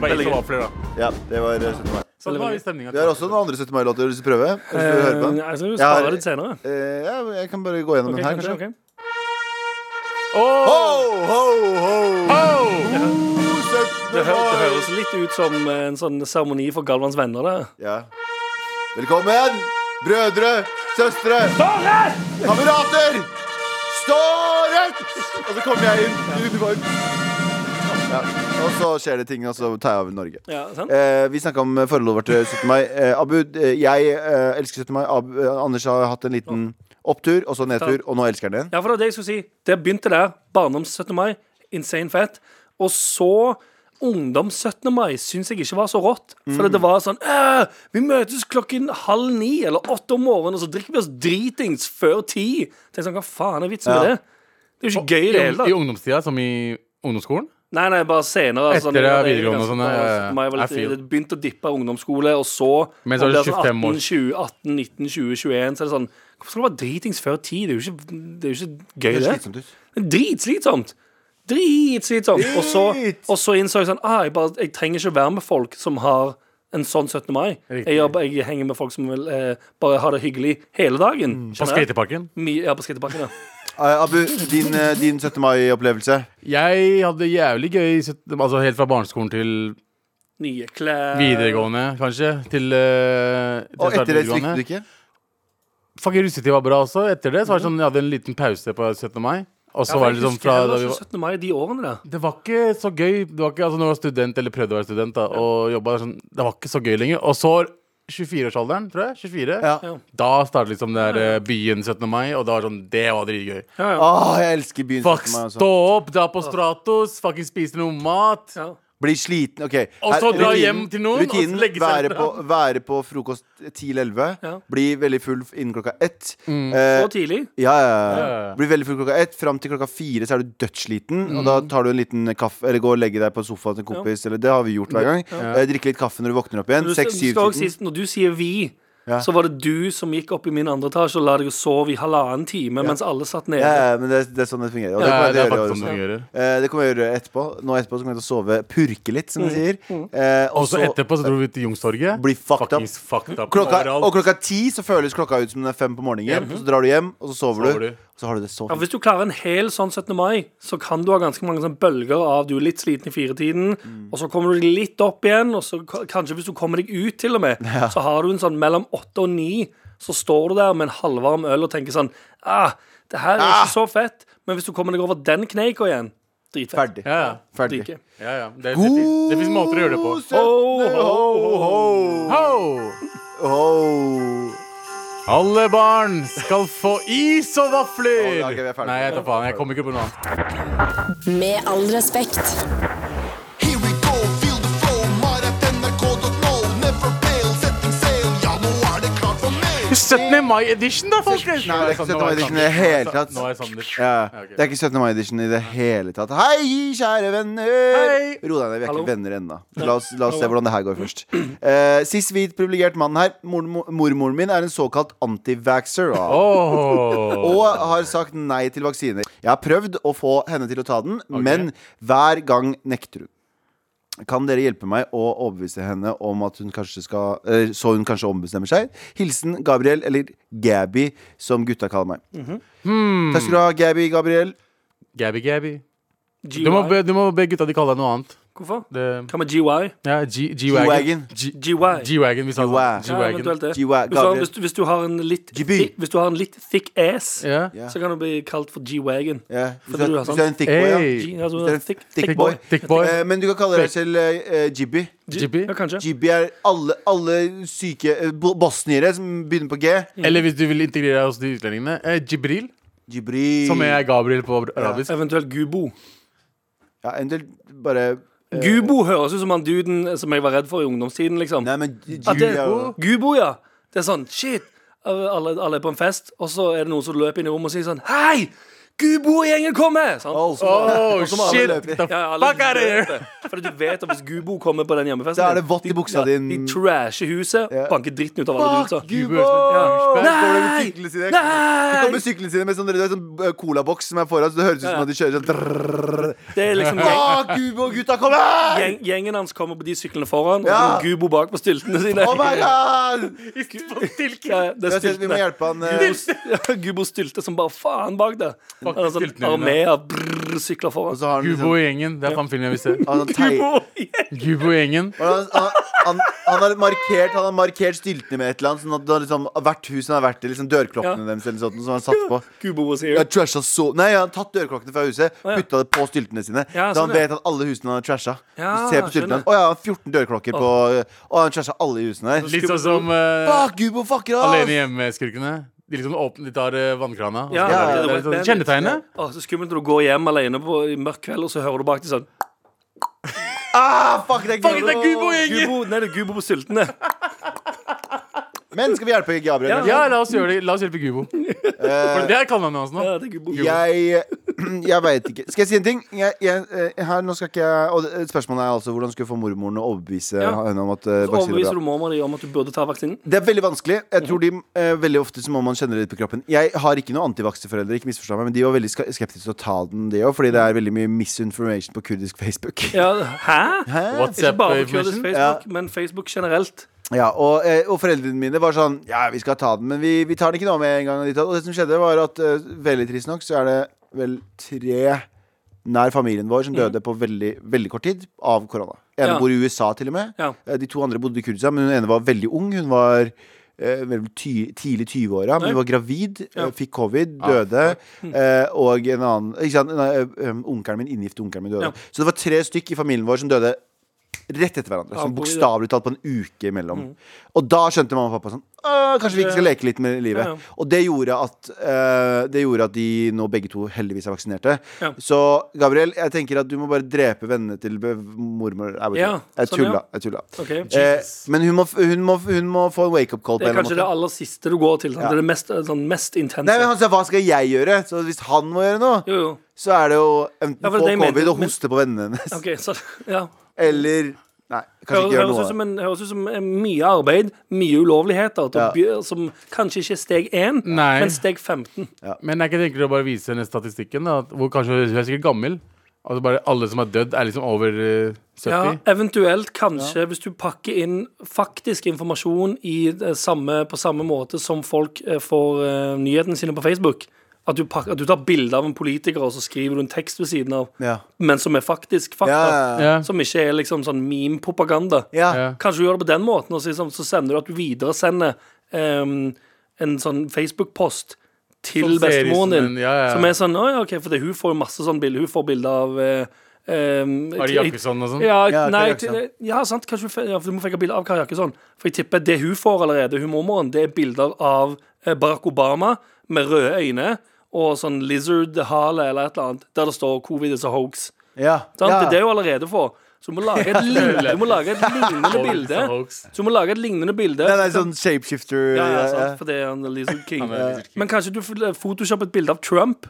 Bare is og vafler, da. Ja, det var 17. mai. Sånn var stemninga. Vi har også noen andre 17. mai-låter du vil prøve. Eller skal du høre på den? Eh, Jeg skal Jeg har- spare litt senere. Eh, ja, jeg kan bare gå gjennom Ok, den her, kanskje, kanskje. ok. Ho, ho, ho. ho 17. Det, hø det mai. høres litt ut som en sånn seremoni for Galvans venner. Det. Ja. Velkommen, brødre, søstre, kamerater! Stå rett! Og så kommer jeg inn i uniform. Ja. Og så skjer det ting, og så tar jeg over Norge. Ja, sant? Eh, vi snakka om forholdet vårt til 17. mai. Eh, Abu, eh, jeg eh, elsker 17. mai. Ab eh, Anders har hatt en liten opptur, og så nedtur, og nå elsker han den. ja, for det var det jeg skulle si. Det begynte der. Barndoms 17. mai. Insane fett. Og så Ungdoms 17. mai syns jeg ikke var så rått. Mm. For det var sånn «Æ, Vi møtes klokken halv ni eller åtte om morgenen, og så drikker vi oss dritings før ti. Tenk sånn, Hva faen er vitsen med Ja. det? Det er jo ikke gøy i det hele I tatt. ungdomstida, som i ungdomsskolen? Nei, nei, bare senere. Etter sånn, jeg- videregående og jeg- sånn, ja, ja, ja. Mai var litt- Jeg feel. Det begynte å dippe ungdomsskole, og så Men så er det og det er 25 år. 18, 20, 18, 19, 20, 21, så er det sånn Hvorfor skal det være dritings før ti? Det er jo ikke, det er jo ikke gøy, Høres det. slitsomt ut. Men Dritslitsomt. Dritslitsomt. Og så, og så innså jeg sånn ah, jeg, bare, jeg trenger ikke være med folk som har en sånn 17. mai. Riktig. Jeg, jobber, jeg henger med folk som vil eh, bare ha det hyggelig hele dagen. Mm, På skjønner jeg. skateparken? Mi- Ja, på skateparken, ja. Eh, Abu, din, eh, din 17. mai-opplevelse. Jeg hadde jævlig gøy i 17 altså helt fra barneskolen til Nye klær. videregående, kanskje. Til, eh, til jeg Og startet etter det videregående. likte du ikke? Fuck, russetid var bra også. Etter det så var det sånn, jeg hadde en liten pause på 17. mai. Og så Ja, for var jeg det liksom husker fra heller da vi ikke var 17. mai de årene der. Det var ikke så gøy. Det var ikke, altså, når du var student, eller prøvde å være student, da, og jobba sånn Det var ikke så gøy lenger. Og så 24-årsalderen, tror jeg. 24. Ja. Ja. Da startet liksom det der eh, byen 17. mai, og da var det sånn Det var dritgøy. Ja, ja. Åh, Ah, jeg elsker byen. Fuck, 17. mai altså. også. stå opp, dra på Stratos, fucking spise noe mat. Ja. Bli sliten, ok Og så Her- dra hjem til noen, og så Rutinen, legge seg være etter på, være på frokost 10-11 Ja. Bli veldig full innen klokka 1 Så tidlig. Eh, ja, ja, Mm. Ja, ja. ja. Bli veldig full klokka 1 Frem til klokka 4 så er du dødssliten Og Mm. da tar du en liten kaffe Eller går og legger deg på sofaen til en kompis Eller det har vi gjort hver gang Eh, Drikke litt kaffe når du våkner opp igjen Du, skal 6-7 skal også tiden si, når du sier vi, Ja. så var det du som gikk opp i min andre etasje og la deg sove i halvannen time mens alle satt nede. ja, ja, men det, er- det er sånn det fungerer Og det Det kommer er, det er jeg til å gjøre i år faktisk sånn det også. fungerer. Eh, Det kommer jeg til å gjøre etterpå Nå etterpå så kommer jeg til å sove Purke litt, Mm. som de sier Eh, Og så etterpå så dro vi til Youngstorget. Bli fucked up. Fuckings fucked up klokka, overalt. og klokka ti så føles klokka ut som den er fem på morgenen. Så drar du hjem, og så sover, Sover du. du. Og så har du det så Ja, fint. hvis du klarer en hel sånn 17. mai, så kan du ha ganske mange sånne bølger av du er litt sliten i firetiden, Mm. og så kommer du deg litt opp igjen, og så ka- kanskje hvis du kommer deg ut til og med, så har du en sånn mellom åtte og ni, så står du der med en halvvarm øl og tenker sånn ah, det her er ikke så fett, men hvis du kommer deg over den kneika igjen, dritfett. Ferdig. Ja, Ferdig. Ferdig. ja, ja. Det, det, finnes- det fins måter å gjøre det på. God sø- Ho, ho, ho. Ho! Ho. Alle barn skal få is og vafler! Ja, ok, vi er ferdig. Nei, jeg tar faen. Jeg kommer ikke på noe annet. Med all respekt. Here we go, feel the flow. Maratnrk.no. Never fail, setting sail. Ja, nå er det klart for mer. 17. mai-edition, da, folkens! Nei, det er ikke 17. mai-edition i det hele tatt. Nå er jeg Sander. Ja, Ja, ok. Det er ikke 17. mai-edition i det hele tatt. Hei, kjære venner! Hei! Ro deg ned, vi er Hallo. ikke venner ennå. La oss, la oss se hvordan det her går først. Uh, Sist hvit privilegert mann her. Mormo- Mormoren min er en såkalt antivaxer. Og, Åh. og har sagt nei til vaksiner. Jeg har prøvd å få henne til å ta den, men hver gang nekter hun. Kan dere hjelpe meg å overbevise henne om at hun kanskje skal eh, Så hun kanskje ombestemmer seg? Hilsen Gabriel, eller Gabby, som gutta kaller meg. Mhm. Hmm. Takk skal du ha, Gabby Gabriel. Gabby, Gabby. GY. Du må, be, du må be gutta de kaller deg noe annet. Hvorfor? Det, Hva med GY? ja, G- G-Wagon. G-Wagon. G- GY. G-Wagon, hvis han G-Wagon. Ja, eventuelt det. GY, Hvis du, har, Gabriel. hvis, du, hvis, du har en litt GB. thick, hvis du har en litt thick ass, Ja. Ja. så kan du bli kalt for G-Wagon. Ja, hvis For du er- du er hvis sånn. du er en thick boy, ja. Hey. G- altså, Hvis det er en thick, thick thick boy. boy. Thick boy. Eh, Men du kan kalle deg selv eh, eh, Jibby. Jibby. Ja, kanskje. Jibby er alle, alle syke eh, bo- bosniere som begynner på G. Eller hvis du vil integrere deg hos de utlendingene. Eh, Jibril, Jibri som er Gabriel på arabisk. Eventuelt Gubo. Ja, eventuelt bare Gubo høres ut som han duden som jeg var redd for i ungdomstiden, liksom. Nei, men Jibri At det, er jo Gubo, ja. Det er sånn shit. Alle, alle er på en fest, og så er det noen som løper inn i rommet og sier sånn Hei! Gubo-gjengen kommer! Sånn. Åh, så- Oh, Og så må alle shit! løpe. The Ja, alle fuck out of here! vet det. Fordi du vet at hvis Gubo kommer på den hjemmefesten Da er det vått i buksa de, din. Ja, de trasher huset, Ja. banker dritten ut av alle dudes. da. Gubo er som en douchebag. Kommer det Nei! med syklene sine? Nei! De kommer med syklene sine med sånn, det er sånn eh, colaboks som er foran, så det høres ut som Ja. at de kjører sånn drrrr. Det er liksom gjeng, Åh, Gubo, gutta, kom her! gjeng, Gjengen hans kommer på de syklene foran, Ja. og så Gubo bak på styltene sine. Oh my god! Ja, det er Jeg synes Vi må styltene. hjelpe han. eh, Gubos- ja, Gubo stylte som bare faen bak det. Han har en sånn styltene armé av brrr, sykler Og foran. så har han Gubo liksom og gjengen. Det er faen filmen jeg vil se. han har tei- Gubo! gjeng. Gubo og gjengen. Og Han, han, han, han, har markert, han har markert styltene med et eller annet. Sånn at det har liksom, hvert hus han har vært i, liksom dørklokkene Ja. deres eller sånt, som han satt på. Gubo was Jeg here. trasha så Nei, han har tatt dørklokkene fra huset, ja. putta det på styltene sine. Ja, så sånn, han ja. vet at alle husene han har trasha. Ja, Du ser på styltene skjønner. Å ja, han har 14 dørklokker på Å, han trasha alle husene her. Litt sånn som eh, Fuck, Gubo fucker ass! Alene hjemme-skurkene. De liksom åpner, de tar eh, vannkrana. og Ja, så ja, tar de- ja, det er ja. sånn Kjennetegnet. Å, så skummelt når du går hjem alene på, i mørk kveld, og så hører du bak deg sånn Ah, fuck, det er Fuck, det er Gubo igjen! Gubo, nei, det er Gubo på styltene. Men skal vi hjelpe Gabriel? Ja. Eh, Ja, la oss gjøre det. La oss hjelpe Gubo. For det er kallenavnet hans nå. Ja, det er Gubo. Jeg, jeg veit ikke. Skal jeg si en ting? Jeg, jeg, eh, her, nå skal ikke jeg, og det- spørsmålet er altså hvordan skulle jeg få mormoren å overbevise Ja. henne om at eh, vaksiner Så er overbeviser bra? du mormor di om at du burde ta vaksinen? Det er veldig vanskelig. Jeg tror de, eh, Veldig ofte så må man kjenne det litt på kroppen. Jeg har ikke noen antivakseforeldre, ikke misforstå meg, men de var veldig ska- skeptiske til å ta den, de òg, fordi det er veldig mye misinformation på kurdisk Facebook. Ja, hæ? Ikke WhatsApp bare på kurdisk information. Facebook, men Facebook generelt. Ja, og, eh, og foreldrene mine var sånn Ja, vi skal ta den, men vi, vi tar den ikke nå med en gang. Og ditt og datt. Og det som skjedde, var at eh, veldig trist nok så er det vel tre nær familien vår som døde på veldig, veldig kort tid av korona. En Mm. Ja. bor i USA, til og med. Ja. Eh, De to andre bodde i Kurdistan, men hun ene var veldig ung. Hun var eh, vel ty, tidlig 20-åra, men hun var gravid, eh, fikk covid, Ah, døde. eh, og en annen ikke sant, nei, eh, um, Onkelen min, inngifte onkelen min, døde. Ja. Så det var tre stykk i familien vår som døde rett etter hverandre. Sånn bo i det. bokstavelig talt på en uke imellom. Og da skjønte mamma og pappa sånn «Åh, Kanskje vi ikke skal leke litt med livet. Mm. Ja, ja. Og det gjorde, at, eh, det gjorde at de nå begge to heldigvis er vaksinerte. Ja. Så Gabriel, jeg tenker at du må bare drepe vennene til be- mormor. Jeg, Ja, ja, jeg sånn, ja. tulla. Jeg tulla. Ok. Eh, men hun må, f- hun, må, f- hun må få en wake-up call. Det på er en eller kanskje annen det måte aller siste du går til. Sånn. Ja. Det er det mest, sånn, mest intense. Nei, men han sa hva skal jeg gjøre? Så hvis han må gjøre noe, Jo, jo. så er det jo enten Ja, for få det jeg covid mente, og men- hoste på vennene hennes. Ok, så, ja. Eller Nei, kanskje ikke gjøre Høres noe. ut av som, det. en, høres ut som en mye arbeid, mye ulovligheter, til å by- som kanskje ikke er steg 1, Nei. men steg 15. Men jeg tenker å bare vise henne statistikken. Da, at hvor kanskje Hun er sikkert gammel. Altså bare Alle som er dødd, er liksom over eh, 70. Ja, eventuelt kanskje, hvis du pakker inn faktisk informasjon i det samme, på samme måte som folk eh, får eh, nyhetene sine på Facebook. At du, pakker, at du tar bilde av en politiker, og så skriver du en tekst ved siden av. Ja. Men som er faktisk fakta. Ja, ja, Ja. Som ikke er liksom sånn meme-propaganda. ja. Ja. Kanskje du gjør det på den måten, og så, liksom, så sender du at du videresender ehm, en sånn Facebook-post til Som ser ut bestemoren som en- din. Sånn ja, ja, ja. Som er sånn, «Å ja, ok, for det, hun får jo masse sånn bilder. Hun får bilder av eh, ehm, Var det jeg- Jakkesson og sånn? Ja, Ja, Kari nei, eh, Jakkesson. ja, sant. Kanskje, du fe- ja, for du må fikk et bilde av Kari Jakkesson. For jeg tipper det hun får allerede, hun mormoren, det er bilder av eh, Barack Obama med røde øyne og sånn lizard-hale eller et eller annet, der det står 'covid is a hoax'. Ja. Sant? ja. Det er det hun allerede får. Så du må lage et, lignende- du må lage et lignende Hoax is a bilde. liksom hoax. Så du må lage et lignende bilde. Nei, nei, sånn shapeshifter Ja, ja, ja, sant, for det er han Lizard sånn King. er Lizard King. Men kanskje du får photoshop et bilde av Trump,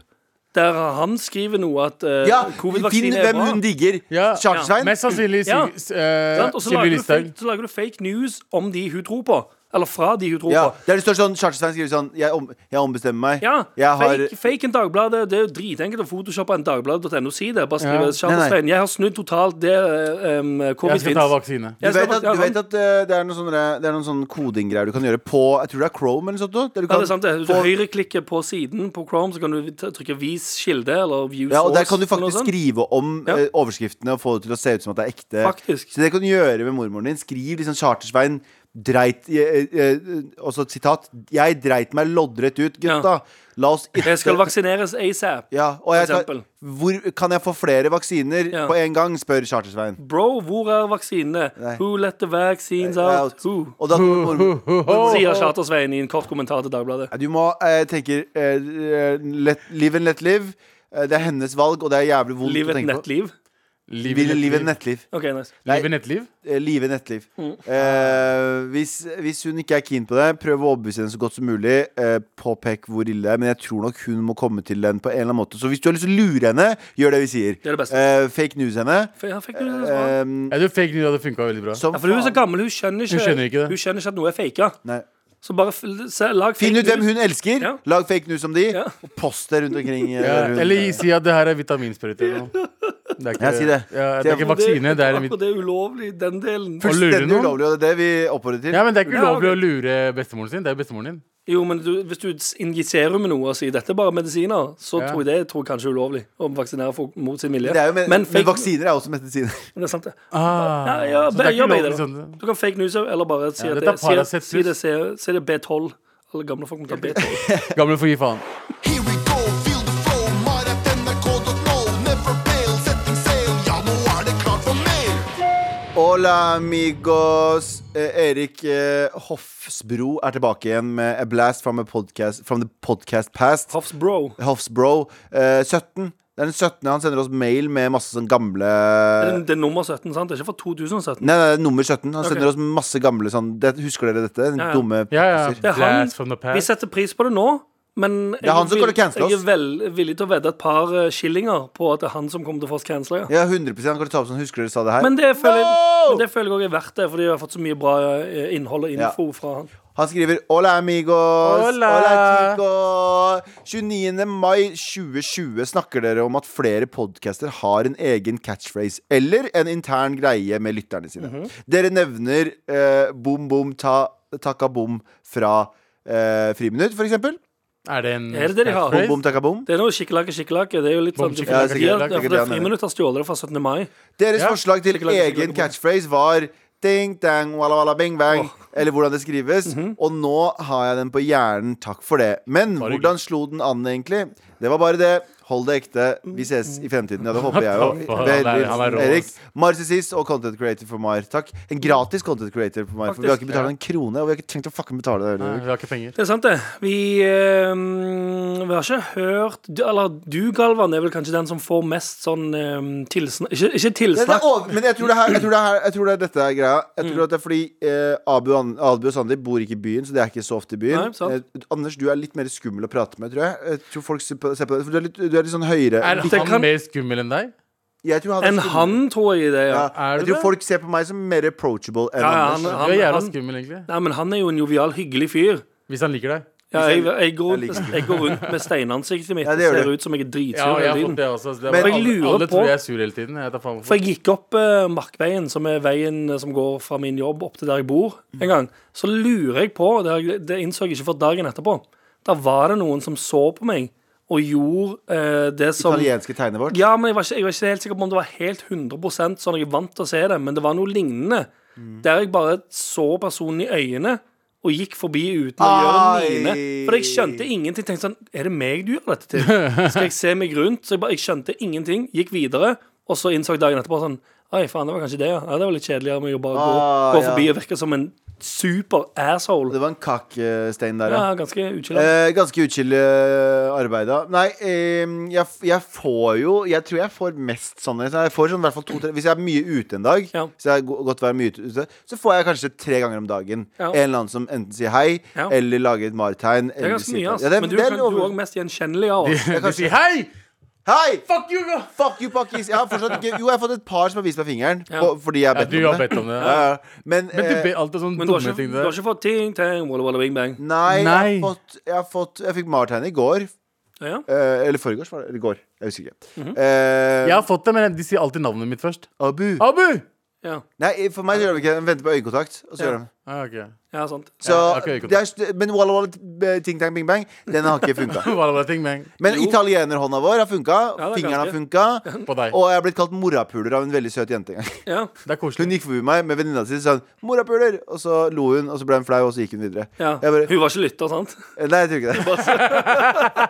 der han skriver noe at ja. eh, ja finn covid-vaksine er hvem bra. hun digger. Ja. Chartersvein? Mest sannsynlig Ja. Sig- eh, Sant? Og så Sylvi lager, du Listhaug. fake, så lager du fake news om de hun tror på. Eller fra de hun tror Ja. på. Der det står sånn Charterstein skriver sånn Jeg, om, jeg ombestemmer meg. Ja, jeg har fake, fake en Dagbladet. Det er jo dritenkelt å photoshoppe en Dagbladet.no-side. Bare skrive Ja. Nei, nei. Charles Svein. Jeg har snudd totalt det eh, em, Jeg covid skal ta fins. vaksine. Du vet at, du vet at eh, det er noen sånne, det er noen sånne kodinggreier du kan gjøre på Jeg tror det er Chrome eller noe sånt. noe, Der du Ja, kan, det er sant det. Hvis du høyreklikker på siden på Chrome, så kan du t- trykke 'vis kilde' eller 'view source'. ja, og der kan du eller noe faktisk sånt. skrive om Ja. eh, overskriftene og få det til å se ut som at det er ekte. Faktisk. Så det kan du gjøre med mormoren din. Skriv liksom Chartersvein dreit eh, eh, Og så et sitat. Jeg dreit meg loddrett ut, gutta. Ja. La oss ikke Jeg skal vaksineres asap. ja, og jeg for tar, eksempel. hvor kan jeg få flere vaksiner Ja. på en gang, spør Chartersvein. Bro, hvor er vaksinene? Nei. Who let the vaccines out? Who? Og da mormor, Sier Charter-Svein i en kort kommentar til Dagbladet. Ja, Du må eh, tenke eh, let, Live and let live. Eh, det er hennes valg, og det er jævlig vondt Liv å et tenke på. nettliv. Liv Live live and nettliv. OK, nice. Nei, Liv i nettliv? eh, live and nettliv. Mm. Eh, hvis, hvis hun ikke er keen på det, prøv å overbevise henne så godt som mulig. Eh, påpek hvor ille det er, men jeg tror nok hun må komme til den på en eller annen måte. Så hvis du har lyst til å lure henne, gjør det vi sier. Det er det beste. Eh, fake news henne. F- Ja, fikk du det så bra? Eh, Jeg tror fake news hadde funka veldig bra. som Ja, for hun er så faen. gammel, hun skjønner ikke, Hun skjønner ikke det. hun skjønner ikke at noe er faka. Nei. Så bare f se, lag Finn ut hvem news. hun elsker, Ja. lag fake news om de, Ja. og post det rundt omkring. eh, Ja, der hun- eller si at det her er vitaminsprøyter. eller noe. Det er ikke, Ja, si det. Ja, det Si er det. ikke vaksine, det er en Akkurat vit... det er ulovlig, den delen. Full- lurer Fullstendig noen. ulovlig, og det er det vi oppfordrer til. Ja, men det er ikke Ja, ulovlig ok. å lure bestemoren sin. Det er bestemoren din. Jo, men du, hvis du injiserer med noe og sier dette er bare medisiner, så Ja. tror jeg det tror jeg kanskje er ulovlig å vaksinere folk mot sin vilje. Det er jo med, men, fake- vaksiner er også medisiner. Men det er sant, det. Ah, Ja, ja, så det er ikke gjør begge ulovlig deler. sånn. Du kan fake news eller bare si Ja, at dette det, er si, Paracet si det, pluss. si, si det er B12. Alle gamle folk må ta B12. Gamle får gi faen. Here we go, feel the flow, maratnrk.no. Never fail, setting sail, ja, nå er det klart for mer. Hola amigos. Eh, Erik eh, Hofsbro er tilbake igjen med A Blast from, a podcast, from the Podcast Past. Hoffs bro. Hofsbro. Eh, 17. Det er den 17. Han sender oss mail med masse sånn gamle Det Nei, er, det er nummer 17, sant? Det er ikke fra 2017. nei, det er nummer 17. Han sender Ok. oss masse gamle sånn det, Husker dere dette? Den Ja, ja. dumme Ja, ja. passer. Det er han. Blast from the Vi past. setter pris på det nå, men jeg er han som vil- kommer til å cancele Jeg oss. er vel, villig til å vedde et par eh, skillinger på at det er han som kommer til å få oss cancela. Ja. Ja, 100 Han kan ta opp sånn Husker dere sa det her? Men det føler jeg No! men det føler jeg også er verdt det, fordi jeg har fått så mye bra eh, innhold og Ja. info fra han. Han skriver Hola amigos Hola. chico 29. mai 2020 snakker dere om at flere podcaster har en egen catchphrase Eller en intern greie med lytterne sine Mhm. Dere nevner eh, Boom boom ta, takka boom Fra eh, friminutt for eksempel Er det en Er det det de har? catchphrase? Boom boom takka boom Det er noe skikkelake, skikkelake. Det er jo litt Bom, sånn skikkelake, Ja, skikkelake, ja, for skikkelake, det er ja, Friminutt har stjålet det fra 17. mai. Deres Ja. forslag til Skikkelig, skikkelig, egen skikkelig. catchphrase var Ding dang, walla walla bing bang Åh. Eller hvordan det skrives Og nå har jeg den på hjernen, takk for det Men Mhm. Bare hvordan slo den an egentlig? Det var bare det, hold det ekte Vi ses i fremtiden, ja det håper jeg Takk jo for- han er- han er rå, Erik, ass. Marcissis og content creator for Mar Takk, en gratis content creator for Mar For vi har ikke betalt en krone, og vi har ikke tenkt å fucking betale det Nei, heller. vi har ikke penger. Det er sant, det. Vi, eh, vi har ikke hørt du- Eller du, Galvan, er vel kanskje den som får mest sånn eh, tilsnakk Ikke, ikke Det, det er tilsnakk. over, men jeg tror det, her, jeg tror det, her, jeg tror det er dette er greia. Jeg Mm. tror at det er fordi eh, Abu, An- Abu og Sandeep bor ikke i byen, så det er ikke så ofte i byen. Nei, sant. Eh, Anders, du er litt mer skummel å prate med, tror jeg. Jeg tror folk ser på, ser på deg, for du er litt, du er litt sånn høyere. Er Det han kan- mer skummel enn deg? Jeg tror han er Enn skummel. han, tror jeg det. Ja, Ja. Er jeg du tror det? folk ser på meg som mer approachable enn Ja, ja, Anders. han- Du er jævla skummel, egentlig. Nei, men han er jo en jovial, hyggelig fyr. Hvis han liker deg. Ja, jeg, jeg, går, Jeg liker det. jeg går rundt med steinansiktet mitt Ja, og det gjør ser du. ut som jeg er Ja, dritsur jeg hele har fått tiden. det også. Det er Men- bare Jeg alle, lurer alle tror på- jeg er sur hele tiden. Jeg tar faen For jeg gikk opp eh, Markveien, som er veien eh, som går fra min jobb opp til der jeg bor, en gang. Så lurer jeg på, det, har jeg- det innså jeg ikke for dagen etterpå, da var det noen som så på meg og gjorde eh, det som Italienske tegnet vårt. Ja, men jeg var, ikke, jeg var ikke helt sikker på om det var helt 100 sånn jeg er vant til å se det, men det var noe lignende. Mm. Der jeg bare så personen i øynene og gikk forbi uten å Ai. gjøre mine. For jeg skjønte ingenting. Tenkte sånn Er det meg du gjør dette til? Skal jeg se meg rundt? Så jeg, bare, jeg skjønte ingenting. Gikk videre. Og så innså jeg dagen etterpå sånn Oi, faen, det var kanskje det, ja. ja det var litt kjedeligere med å bare gå, Ah, gå ja. forbi og virke som en super asshole. Det var en kakkestein der, Ja, ja. ganske utskilla. Eh, ganske utskille arbeida. Nei, eh, jeg, jeg får jo Jeg tror jeg får mest sånne. Så jeg får sånn, i hvert fall to, tre, hvis jeg er mye ute en dag, Ja. hvis jeg har go- godt vær mye ute, så får jeg kanskje tre ganger om dagen Ja. en eller annen som enten sier hei, Ja. eller lager et maritegn. Det er ganske mye, ass. Ja, det, Men du, det kan, er du er over... òg mest gjenkjennelig av oss. De sier hei! Hei! Fuck you! bro!» Fuck you, pakkis! Jeg har fortsatt ikke Jo, jeg har fått et par som har vist meg fingeren. Ja. På, fordi jeg har Ja, bedt du om har det. bedt om det. Ja, ja. Men, Men du eh, ber alltid sånne Men du har, dumme ikke, ting du har der. ikke fått ting, ting, walla, walla, bing, bang. Nei, Nei. Jeg, har fått, jeg har fått Jeg fikk martegn i går. Ja. Eh, eller foregårs, var det? Eller i går. Jeg husker ikke. Mhm. Eh, Jeg har fått det, men de sier alltid navnet mitt først. Abu. Abu! Ja, Nei, for meg så gjør de ikke det. De venter på øyekontakt. Og så Ja. gjør de det. Ah, ok. ja sant. så, Ja, ok, øyekontakt. det er, st- Men Walla Walla eh, Ting Tang Bing Bang, den har ikke funka. Hva var det ting, men Men italienerhånda vår har funka. Ja, det er fingeren har ganske. funka. På deg. Og jeg er blitt kalt morapuler av en veldig søt jente en gang. Ja, Det er koselig. Hun gikk forbi meg med venninna si og sa hun, 'morapuler', og så lo hun, og så ble hun flau, og så gikk hun videre. ja. Jeg bare, Hun var ikke lytter, sant? Nei, jeg tror ikke det.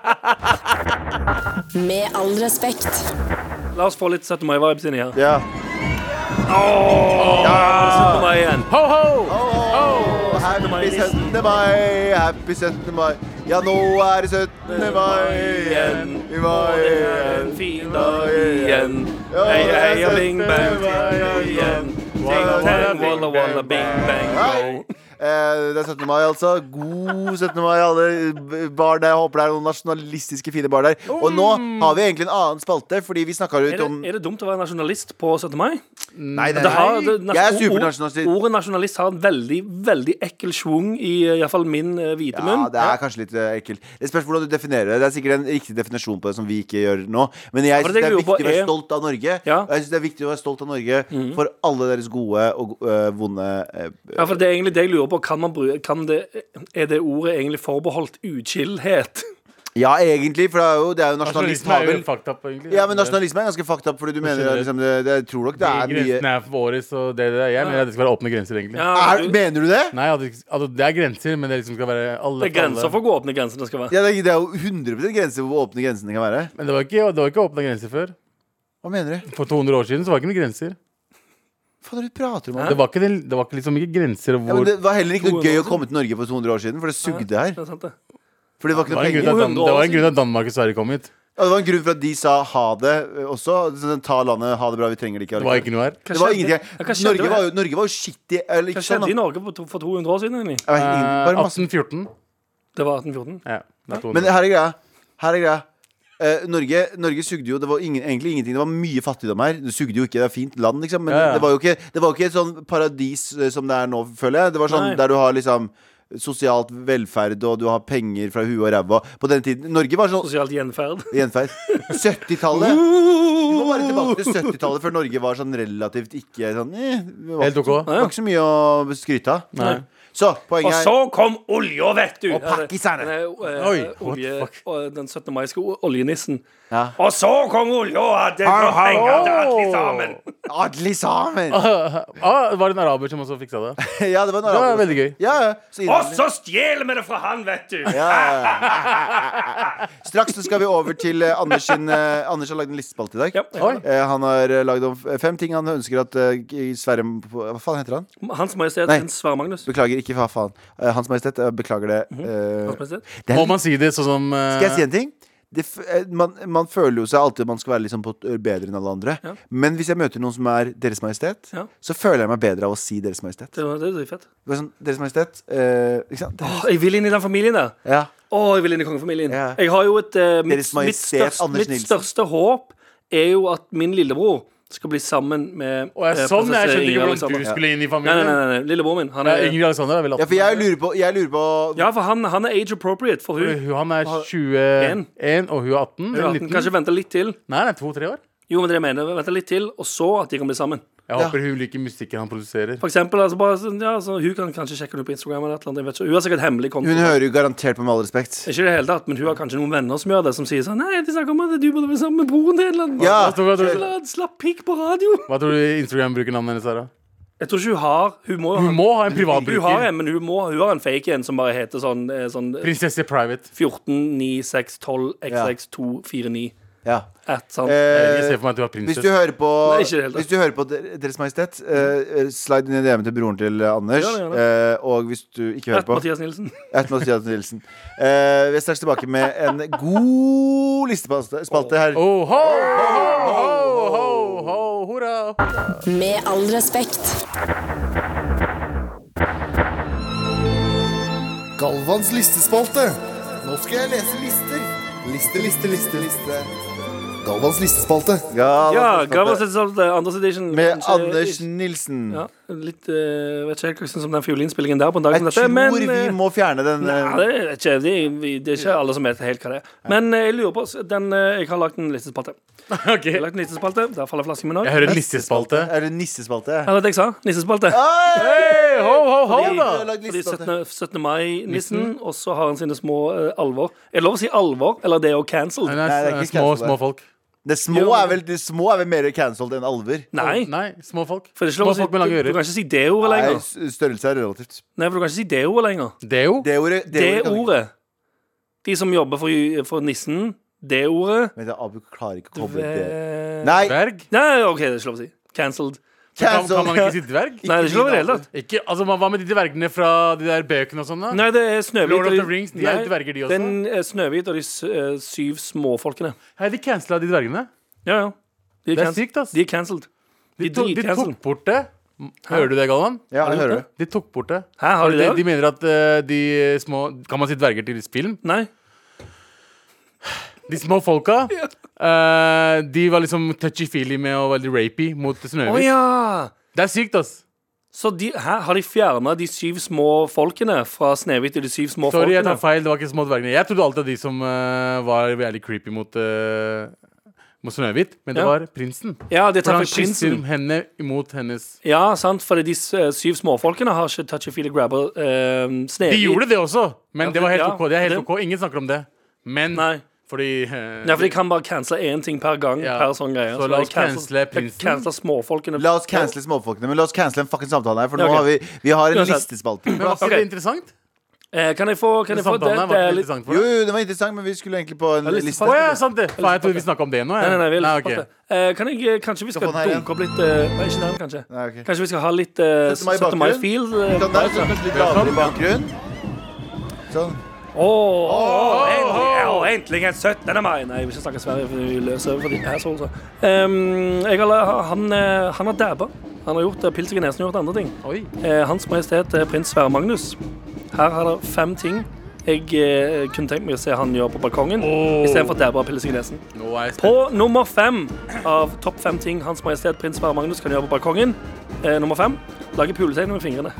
Med all respekt. La oss få litt 17. mai-vibes inni her. Ja. 17. mai igjen. Ho, ho! Oh, happy 17. mai, happy 17. mai. Ja, nå er det 17. mai igjen. I mai Det er igjen. en fin dag igjen. Hei, hei, og bing, bang, igjen. Ting, tang, walla, walla, bing, bang, go. Eh, Det er 17. mai, altså. God 17. mai, alle bar der. Jeg håper det er noen nasjonalistiske fine bar der. Og nå har vi egentlig en annen spalte, fordi vi snakka Mm. Er litt det, om er det dumt å være nasjonalist på 17. mai? Nei, Det har, det, Jeg er supernasjonalist. Ordet nasjonalist har en veldig veldig ekkel schwung i iallfall min eh, hvite Ja, munn. det er kanskje litt eh, ekkelt. Det spørs hvordan du definerer det. Det er sikkert en riktig definisjon på det som vi ikke gjør nå. Men jeg for syns det det er jeg lurer på viktig å være er- stolt av Norge. Ja. Mm. Og jeg syns det er viktig å være stolt av Norge for alle deres gode og eh, vonde eh, Ja, for det er egentlig det jeg lurer på. Kan man bruke, kan det, er det ordet egentlig forbeholdt utskillhet? Ja, egentlig, for det er jo, det er jo Nasjonalisme Altså, er jo nasjonalisthabel. fucked up, egentlig. Ja, men nasjonalisme er ganske fucked up, fordi du mener at liksom, det, det, jeg tror nok det er mye Grensene er våre, så det, det, jeg mener at det skal være åpne grenser, egentlig. Ja, er, du- Mener du det? Nei, at det- altså, det er grenser, men det liksom skal være alle det er grenser alle. for hvor åpne grensene skal være. Ja, det, er- det er jo 100 grenser for hvor åpne grensene kan være. Men det var ikke, det var ikke åpne grenser før. Hva mener du? For 200 år siden så var det ikke noen grenser. Hva faen er det du prater om? Det var ikke, den- det var ikke liksom ikke grenser Ja, men hvor det var heller ikke noe 200 gøy år å komme til Norge for 200 år siden, for det sugde her. Det er sant, det. Fordi det var ikke Det var en grunn noe til penger. at, Dan, penger. det var en grunn til at Danmark og Sverige kom hit. Ja, det var en grunn for at de sa ha det eh, også. Sånn, Ta landet, ha det bra, vi trenger det ikke. Det var ikke noe her. Det var ingenting. Ja, hva skjedde? Norge var jo, Norge var jo shitty. Eller, Hva ikke sånn, skjedde i da. Norge på to, for 200 år siden? egentlig? Jeg vet ikke, Eh, bare masse. 1814. Det var 1814. Ja, det er 200. Men her er greia. Her er greia. Eh, Norge, Norge sugde jo Det var ingen, egentlig ingenting. Det var mye fattigdom her. Det sugde jo ikke. Det er fint land, liksom. Men Ja, ja. Det, var jo ikke, det var jo ikke et sånn paradis eh, som det er nå, føler jeg. Det var sånn Nei. der du har liksom sosialt velferd, og du har penger fra huet og ræva. På den tiden Norge var sånn Sosialt gjenferd. Gjenferd. 70-tallet. Vi må bare tilbake til 70-tallet, før Norge var sånn relativt ikke sånn eh, det var, Helt ikke- ok. Det var ikke så mye å skryte av. Nei. Så Og poenget er så kom olja, vet du! Og pakkiserne. Oi, Oi, what the eh, olje, fuck? og den 17. mai skulle oljenissen. Ja. Og så kom olja, og hadde Hallo, gått penger hallo! til liksom, alle sammen! Adelig sammen! ah, det var en araber som også fiksa det. Ja, det var en Det araber. var veldig gøy. Ja, ja. Så Og innvandring. så stjeler vi det fra han, vet du! Ja, ja, ja. Straks så skal vi over til eh, Anders sin eh, Anders har lagd en listespalte i dag. Ja. Oi. Eh, han har uh, lagd om f- fem ting han ønsker at eh, i Sverre Hva faen heter han? Hans Majestet Nei. Prins Sverre Magnus. Beklager, ikke hva faen. Eh, Hans Majestet, jeg beklager det. eh, Mhm. Hans Majestet. det er Må man si det sånn som eh, Skal jeg si en ting? Det, f- eh, man, man føler jo seg alltid man skal være liksom på, bedre enn alle andre. Ja. Men hvis jeg møter noen som er Deres Majestet, Ja. så føler jeg meg bedre av å si Deres Majestet. Det var- det er dritfett. Det var Sånn, deres Majestet eh, Ikke sant? Åh, Jeg vil inn i den familien der. Ja. Å, jeg vil inn i kongefamilien. Ja. Jeg har jo et eh, mitt, Deres mitt, Majestet største, Anders mitt Nilsen. største håp er jo at min lillebror skal bli sammen med Å, jeg, eh, sånn, jeg prinsesse skjønte Ingrid ikke hvordan du Alexandra. skulle inn i Nei, nei, familien. nei, nei, lillebror min. Han Nei, er, Ingrid Alexander er vel 18. ja, for jeg lurer på, jeg lurer på ja, for han, han er age appropriate for hun. Hun- Han er 21, og hun er 18. Hun er Eller 18. 19. Kanskje vente litt til. Nei, nei, to-tre år. Jo, men det er det jeg mener, vente litt til, og så at de kan bli sammen. Jeg håper hun liker musikken han produserer. For eksempel, altså bare, sånn, ja, så hun kan kanskje sjekke henne på Instagram eller et eller annet. Jeg vet ikke. Hun har sikkert hemmelig konto. Hun hører jo garantert på Med all respekt. Ikke i det hele tatt, men hun har kanskje noen venner som gjør det, som sier sånn Nei, de snakker om at du burde være sammen med broren din, eller noe. Ja. Hva tror, hva, tror, La han slapp pikk på radio. hva tror du Instagram bruker navnet hennes? Sara? Jeg tror ikke hun har Hun må, Hun må ha en privat Hun har bruker. en, men hun, må, hun har en fake en som bare heter sånn, eh, sånn Prinsesse Private. 14 9 6 12 xx 2 4 9. Ja. At, sant? Jeg ser Eh, for meg at du var hvis prinsesse. du hører på, Nei, ikke i det hele tatt. hvis du hører på Der- Deres Majestet, eh, slide inn i DM-en til broren til Anders. Gjør det, gjør eh, og hvis du ikke hører At på Mathias Nilsen. At Mathias Nilsen. Eh, vi er straks tilbake med en god listespalte spalte her. Oh, ho, ho, ho, ho, ho, hurra. Med all respekt. Galvans listespalte. Nå skal jeg lese lister. Liste, liste, liste, liste. Galvans listespalte. Ja, Galvans Gammas listespalte. Edition, eh, Anders Edition. Med kanskje- Anders Nilsen. Ja, litt eh, Vet ikke helt hva jeg syns om den fiolinspillingen der på en dag Jeg som dette, tror men vi eh, må fjerne den. Nei, eh, det er ikke, det, er- det er ikke alle som vet helt hva det er. Men eh, jeg lurer på den, eh, Jeg har lagt en listespalte. Ok. Jeg har lagt en listespalte, Der faller flasken min òg. Jeg hører en listespalte. Er det nissespalte? Hva var det jeg sa? Nissespalte. Ah! Hey, ho, ho, ho, Vi da. har lagd Fordi listespalte. 17. 17. mai-nissen, og så har han sine små eh, alvor. Er det lov å si alvor, eller det er jo cancelled? Nei, Nei, det er nei, ikke små, cancel, det. små folk. Det små er vel, det små er vel mer cancelled enn alver? Nei. Nei, små folk. For det er ikke Små lov å si, folk med lange du, du ører. kan ikke si det ordet Nei, lenger. s- størrelse er relativt. Nei, for du kan ikke si det ordet lenger. Deo? Det ordet Det kan vi ikke- ordet. De som jobber for, for nissen, det ordet Vent, da, Abu klarer ikke å koble det. Ve- Nei, Dverg? Nei, OK, det er ikke lov å si. Cancelled. Kan, cancel. kan man ikke si dverg? Nei, det er ikke lov i det hele tatt. Ikke, altså, hva med de dvergene fra de der bøkene og sånn? da? Nei, det er Snøhvit Lord of og the Rings, de er Nei, dverger, de også. Den eh, Snøhvit og de s- eh, syv småfolkene. Hei, de cancela de dvergene. Ja, ja. De Det er canc- sykt, ass. De er cancelled. De, De tok- de dritcancel. tok bort det. Hører du det, Galvan? Ja, jeg hører det. De tok bort det. Hæ, har de de, det? de mener at eh, de små Kan man si dverger til film? Nei. De små folka eh, De var liksom touchy-feely med og veldig rapey mot Å Snøhvit. ja! Det er sykt, ass. Så de, hæ, har de fjerna de syv små folkene fra Snehvit og de syv små Sorry, jeg folkene? tar feil. Det var ikke små dvergene. Jeg trodde alltid at de som eh, var veldig creepy mot uh, Mot Snøhvit, men det Ja. var prinsen. Ja, det For tar han feil. kysser Prinsen. henne imot hennes Ja, sant, for de s- eh, syv småfolkene har ikke touchy feely grabber eh, Snehvit. De gjorde det også, men Ja, det var helt ja, ok. Det er helt det- ok. Ingen snakker om det. Men Nei. fordi eh, Nei, for de kan bare cancele én ting per gang. Ja. Per sånn greie Så de la oss cancel- cancele prinsen. Cancele småfolkene. La oss cancele småfolkene, men la oss cancele en fucking samtale her, for nå Ja, ok. har vi, vi har en Uansett. listespalte. Men var ikke Ok. det interessant? Eh, kan jeg få, kan jeg få det, Samtalen her det var er ikke litt interessant for Jo, deg? jo, det var interessant, men vi skulle egentlig på en litt liste. Å ja, sant det! Faen, jeg trodde vi snakka om det nå. jeg. Nei, nei, nei, vi er litt ok. sparte. eh, Kan jeg, eh, Kanskje vi skal få den her igjen. dunke opp litt eh, Nei, ikke den, kanskje. Nei, ok. Kanskje vi skal ha litt eh, 17. mai i 17. bakgrunnen. mai-feel? eh, Sånn der, så kanskje litt lavere i bakgrunnen. Sånn. Åh, åh, endelig, ja, endelig en 17. mai! Nei, jeg vil ikke snakke Sverige, for vi løser for de assholes. Ehm, jeg har, la- han, eh, han har dabba. Han har gjort eh, pils i nesen og gjort andre ting. Oi. Eh, Hans Majestet eh, Prins Sverre Magnus. Her har det fem ting jeg eh, kunne tenkt meg å se han gjør på balkongen Åh. istedenfor dabba og pils i nesen. Nå er jeg spent. På nummer fem av topp fem ting Hans Majestet Prins Sverre Magnus kan gjøre på balkongen. Eh, nummer fem lage puletegn med fingrene.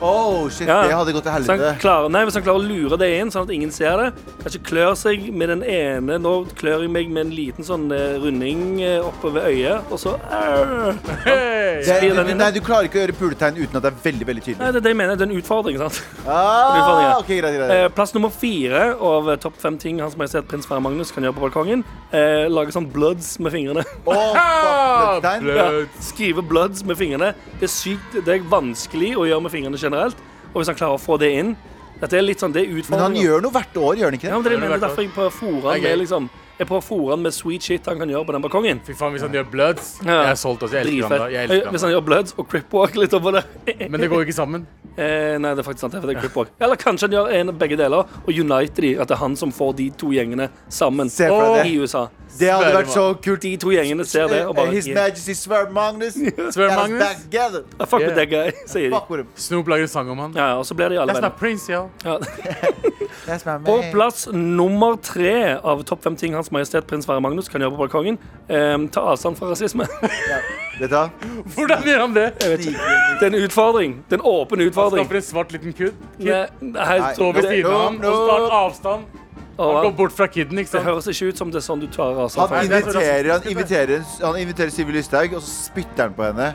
Oh, shit, Ja. Sånn det hadde gått til Hvis han, helvete. klarer, nei, hvis han klarer å lure det inn, sånn at ingen ser det. Kanskje klør seg med den ene Nå klør jeg meg med en liten sånn eh, runding eh, oppe ved øyet, og så eh, Arr! Hey. Det, Skriv den inn, da. nei, du klarer ikke å gjøre puletegn uten at det er veldig veldig tydelig. Nei, det er det jeg mener. Det er en utfordring, sant? utfordring, Ah, ja. ok, greit, greit. Eh, Plass nummer fire av eh, topp fem ting Hans Majestet Prins Sverre Magnus kan gjøre på balkongen. Eh, Lage sånn bloods med fingrene. Åh, fuck, puletegn. Blø- Ja, Bloods. skrive bloods med fingrene. Det er sykt, det er vanskelig å gjøre med fingrene generelt. Og hvis han klarer å få det inn Dette er litt sånn, det er Men utfordringer. han gjør noe hvert år, gjør han ikke Ja, det? men det er Har det jeg du mener vært derfor jeg prøver å fôre han Ok. med liksom Jeg prøver å fôre han med sweet shit han kan gjøre på den balkongen. Fy faen, hvis han gjør bloods Ja. Jeg er solgt, altså. Jeg elsker ham da. Dritfett. sånn- Jeg Eh, elsker Hvis ham. han gjør bloods og cripwalk litt over det Men det går jo ikke sammen. eh, Nei, det er faktisk sant. det er fordi det er cripwalk. Eller kanskje han gjør en av begge deler og uniter de. At det er han som får de to gjengene sammen Se for Og deg det. i USA. Det hadde Sverre vært så kult. De to gjengene ser det og Eh, bare His yeah. Majesty Sverre Magnus. Sverre Get us Magnus. back together. Ah, Fuck with Yeah. that guy, sier de. Fuck with him. Snoop lager en sang om han. Ja, og så blir de alle That's not venner. Prince, yo. Ja. That's my På man. plass nummer tre av topp fem ting Hans Majestet Prins Sverre Magnus kan gjøre på balkongen, eh, ta avstand fra rasisme. Vet du hva? Hvordan gjør han det? Det er en utfordring. Det er en åpen utfordring. Stopper en svart liten kid. Nei, nei, Nei. Står ved det, siden av ham no, og tar no. avstand. Han går å, bort fra kiden, ikke det sant? høres ikke ut som det er sånn du tar Han avstand fra. Nei, det er så inviterer, han rasistisk, inviterer, han inviterer Sylvi Lysthaug, og så spytter han på henne.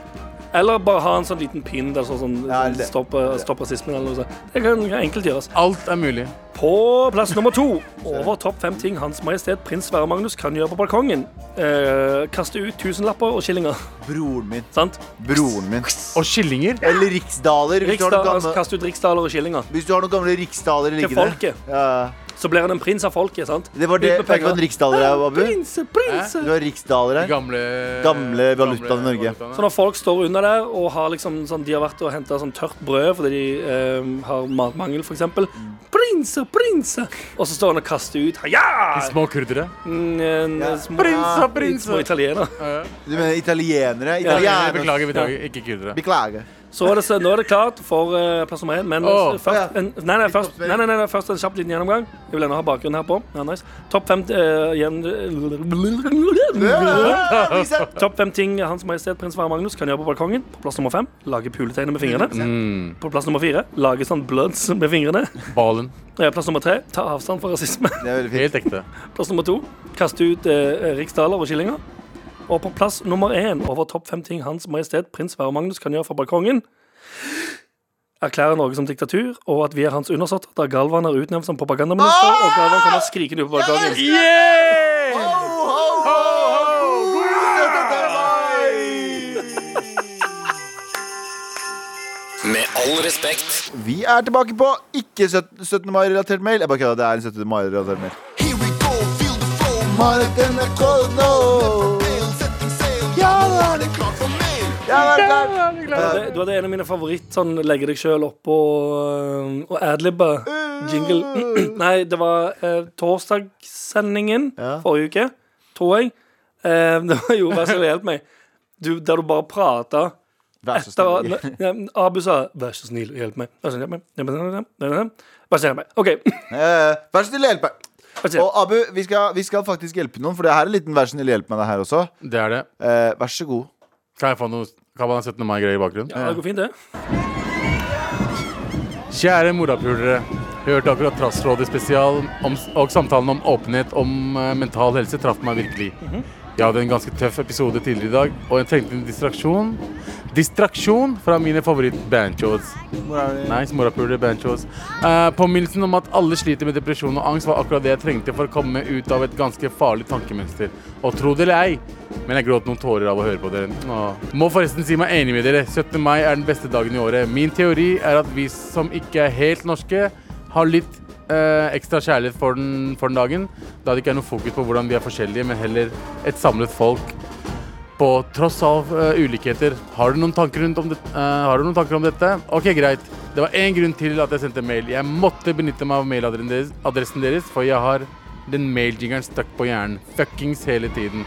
Eller bare ha en sånn liten pin der sånn, sånn Ja, det- stopp, stopp rasismen eller noe sånt. Det kan kan enkelt gjøres. Alt er mulig. På plass nummer to over topp fem ting Hans Majestet Prins Sverre Magnus kan gjøre på balkongen. Eh, kaste ut tusenlapper og skillinger. Broren min. Sant? Broren min. Og skillinger. Eller riksdaler. Hvis du har Riksdal, noen altså, gamle, kaste ut riksdaler og skillinger. hvis du har noen gamle riksdaler liggende. folket. Ja. så blir han en prins av folket. sant? Det var det Ut med Det var en penger. riksdaler her, Abu. Prinse, prinse! Du har riksdaler her. Gamle, Gamle valutaen i Norge. valutaene. Så når folk står under der og har liksom sånn, de har vært og henta sånn tørt brød fordi de eh, har matmangel, f.eks. Prinse, prinse! Og så står han og kaster ut De Ja! mm, Små kurdere. Ja. Små, Prinse, små italiener. Du mener italienere? Jeg Italienere. Beklager, beklager. Ikke kurdere. Beklager. Så er det, så, nå er det klart for eh, plass nummer én, men Åh. først, en, nei, nei, først, nei, nei, nei, nei, først en kjapp liten gjennomgang. Jeg vil ennå ha bakgrunnen her på. Ja, nice. Topp fem eh, gjen... Lise. Topp fem ting Hans Majestet Prins Sverre Magnus kan gjøre på balkongen. På plass nummer fem lage puletegner med fingrene. Mm. På plass nummer fire lage sånn bloods med fingrene. Balen. Eh, Plass nummer tre ta avstand fra rasisme. Det er veldig fint. Helt ekte. Plass nummer to kaste ut eh, riksdaler og killinger. Og på plass nummer én over topp fem ting Hans Majestet Prins Sverre Magnus kan gjøre fra balkongen. Erklære Norge som diktatur, og at vi er hans undersåtter, der Galvan er utnevnt som propagandaminister, og Galvan kommer skrikende ut på balkongen. Yeah! Ho, ho, ho, ho! Støtte til meg! Med all respekt. Vi er tilbake på ikke 17. 17. mai-relatert mail. Jeg bare kødder, det er en 17. mai-relatert mail. Here we go, feel the flow. Marit NRK nå. Pale, setting sail. Ja, nå er det klart for mail. Ja, det er klart. Det, du hadde en av mine favoritt sånn legge deg sjøl opp og, øh, og adlibbe. Jingle. Nei, det var eh, torsdagssendingen Ja. forrige uke, tror jeg. Eh, det var jo Vær så snill, hjelp meg. Du, der du bare prata. Vær så snill. Abu sa 'vær så snill, hjelp meg'. Vær så snill, hjelp meg. Hjelp meg, hjelp meg, hjelp meg. Vær så snill, hjelp meg. OK. Eh, Vær så snill, hjelp meg. Vær så snill. Og Abu, vi skal, vi skal faktisk hjelpe noen, for det her er en liten vær så snill, hjelp meg, det her også. Det er det. Eh, vær så god. Kan jeg få noe Kan man ha 17. mai-greier i bakgrunnen? Ja, det går fint, det. Kjære morapulere. Hørte akkurat Trassrådet spesial om, og samtalen om åpenhet om eh, mental helse traff meg virkelig. Jeg hadde en ganske tøff episode tidligere i dag, og jeg trengte en distraksjon. Distraksjon fra mine favoritt-banjos. Nice, morapulere, banjos. Eh, påminnelsen om at alle sliter med depresjon og angst, var akkurat det jeg trengte for å komme ut av et ganske farlig tankemønster. Og tro det eller ei, men jeg gråt noen tårer av å høre på dere. Åh. Må forresten si meg enig med dere. 17. mai er den beste dagen i året. Min teori er at vi som ikke er helt norske, har litt eh, ekstra kjærlighet for den, for den dagen, da det ikke er noe fokus på hvordan vi er forskjellige, men heller et samlet folk på tross av eh, ulikheter. Har du, noen tanker rundt om det, eh, har du noen tanker om dette? Ok, greit. Det var én grunn til at jeg sendte mail. Jeg måtte benytte meg av mailadressen deres, adressen deres for jeg har den mailjingeren stuck på hjernen fuckings hele tiden.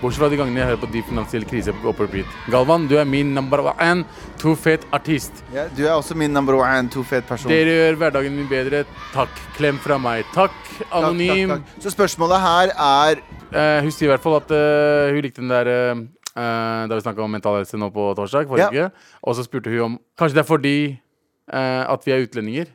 Bortsett fra de gangene jeg hører på Dyp finansiell krise på repeat. Galvan, du er min number one too fet artist. Ja, du er også min number one two-fet person. Dere gjør hverdagen min bedre. Takk. Klem fra meg. Takk, Takk, takk, anonym. takk. Så spørsmålet her er Eh, hun sier i hvert fall at eh, hun likte den der eh, eh, Da vi snakka om mental helse nå på torsdag forrige Ja. uke. Og så spurte hun om Kanskje det er fordi eh, at vi er utlendinger?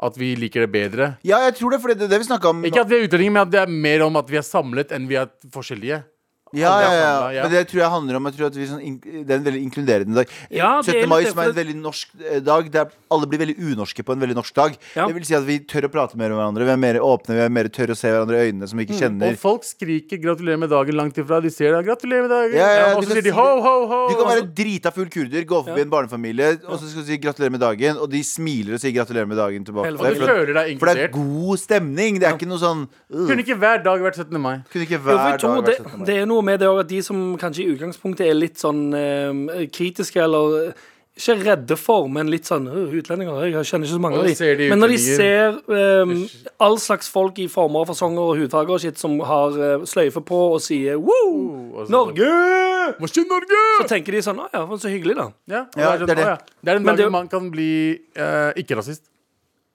At vi liker det bedre? Ja, jeg tror det, for det er det vi snakka om. Ikke at vi er utlendinger, men at det er mer om at vi er samlet enn vi er forskjellige. Ja, Alle ja, er ja. samlet, ja. Men det tror jeg handler om jeg tror at vi sånn, ink- Det er en veldig inkluderende dag. Ja, det er 17. mai litt det, som er en for veldig norsk eh, dag, der alle blir veldig unorske på en veldig norsk dag. Ja. Det vil si at vi tør å prate mer med hverandre. Vi er mer åpne, vi er mer tør å se hverandre i øynene som vi Mm. ikke kjenner. Og folk skriker 'gratulerer med dagen' langt ifra. De ser det. 'Gratulerer med dagen'. Ja, ja, og du så sier kan de si- 'ho, ho, ho'. Du kan være drita full kurder, gå forbi en barnefamilie, og så skal du si 'gratulerer med dagen', og de smiler og sier 'gratulerer med dagen' tilbake. Hele Og du for, føler deg for det er inkludert. god stemning. Det er ikke noe sånn øh, Kunne ikke hver dag vært 17. mai. Kunne ikke Jo, for jeg hver tror dag det, vært sånn. 17. mai. det er noe med det også, at de som kanskje i utgangspunktet er litt sånn eh, kritiske eller eh, ikke redde for, men litt sånn «Øh, utlendinger. Jeg kjenner ikke så mange Og av da ser de. de Men når de ser utlendinger. eh, all slags folk i former og fasonger og hudfarger og shit som har eh, sløyfe på og sier wow, og så- Norge! Må ikke Norge! Så tenker de sånn Å ja, så hyggelig, da. Ja, og det, Ja, er sånn, det er det. «Å ja. det er den Men dagen det- man kan bli eh, ikke-rasist.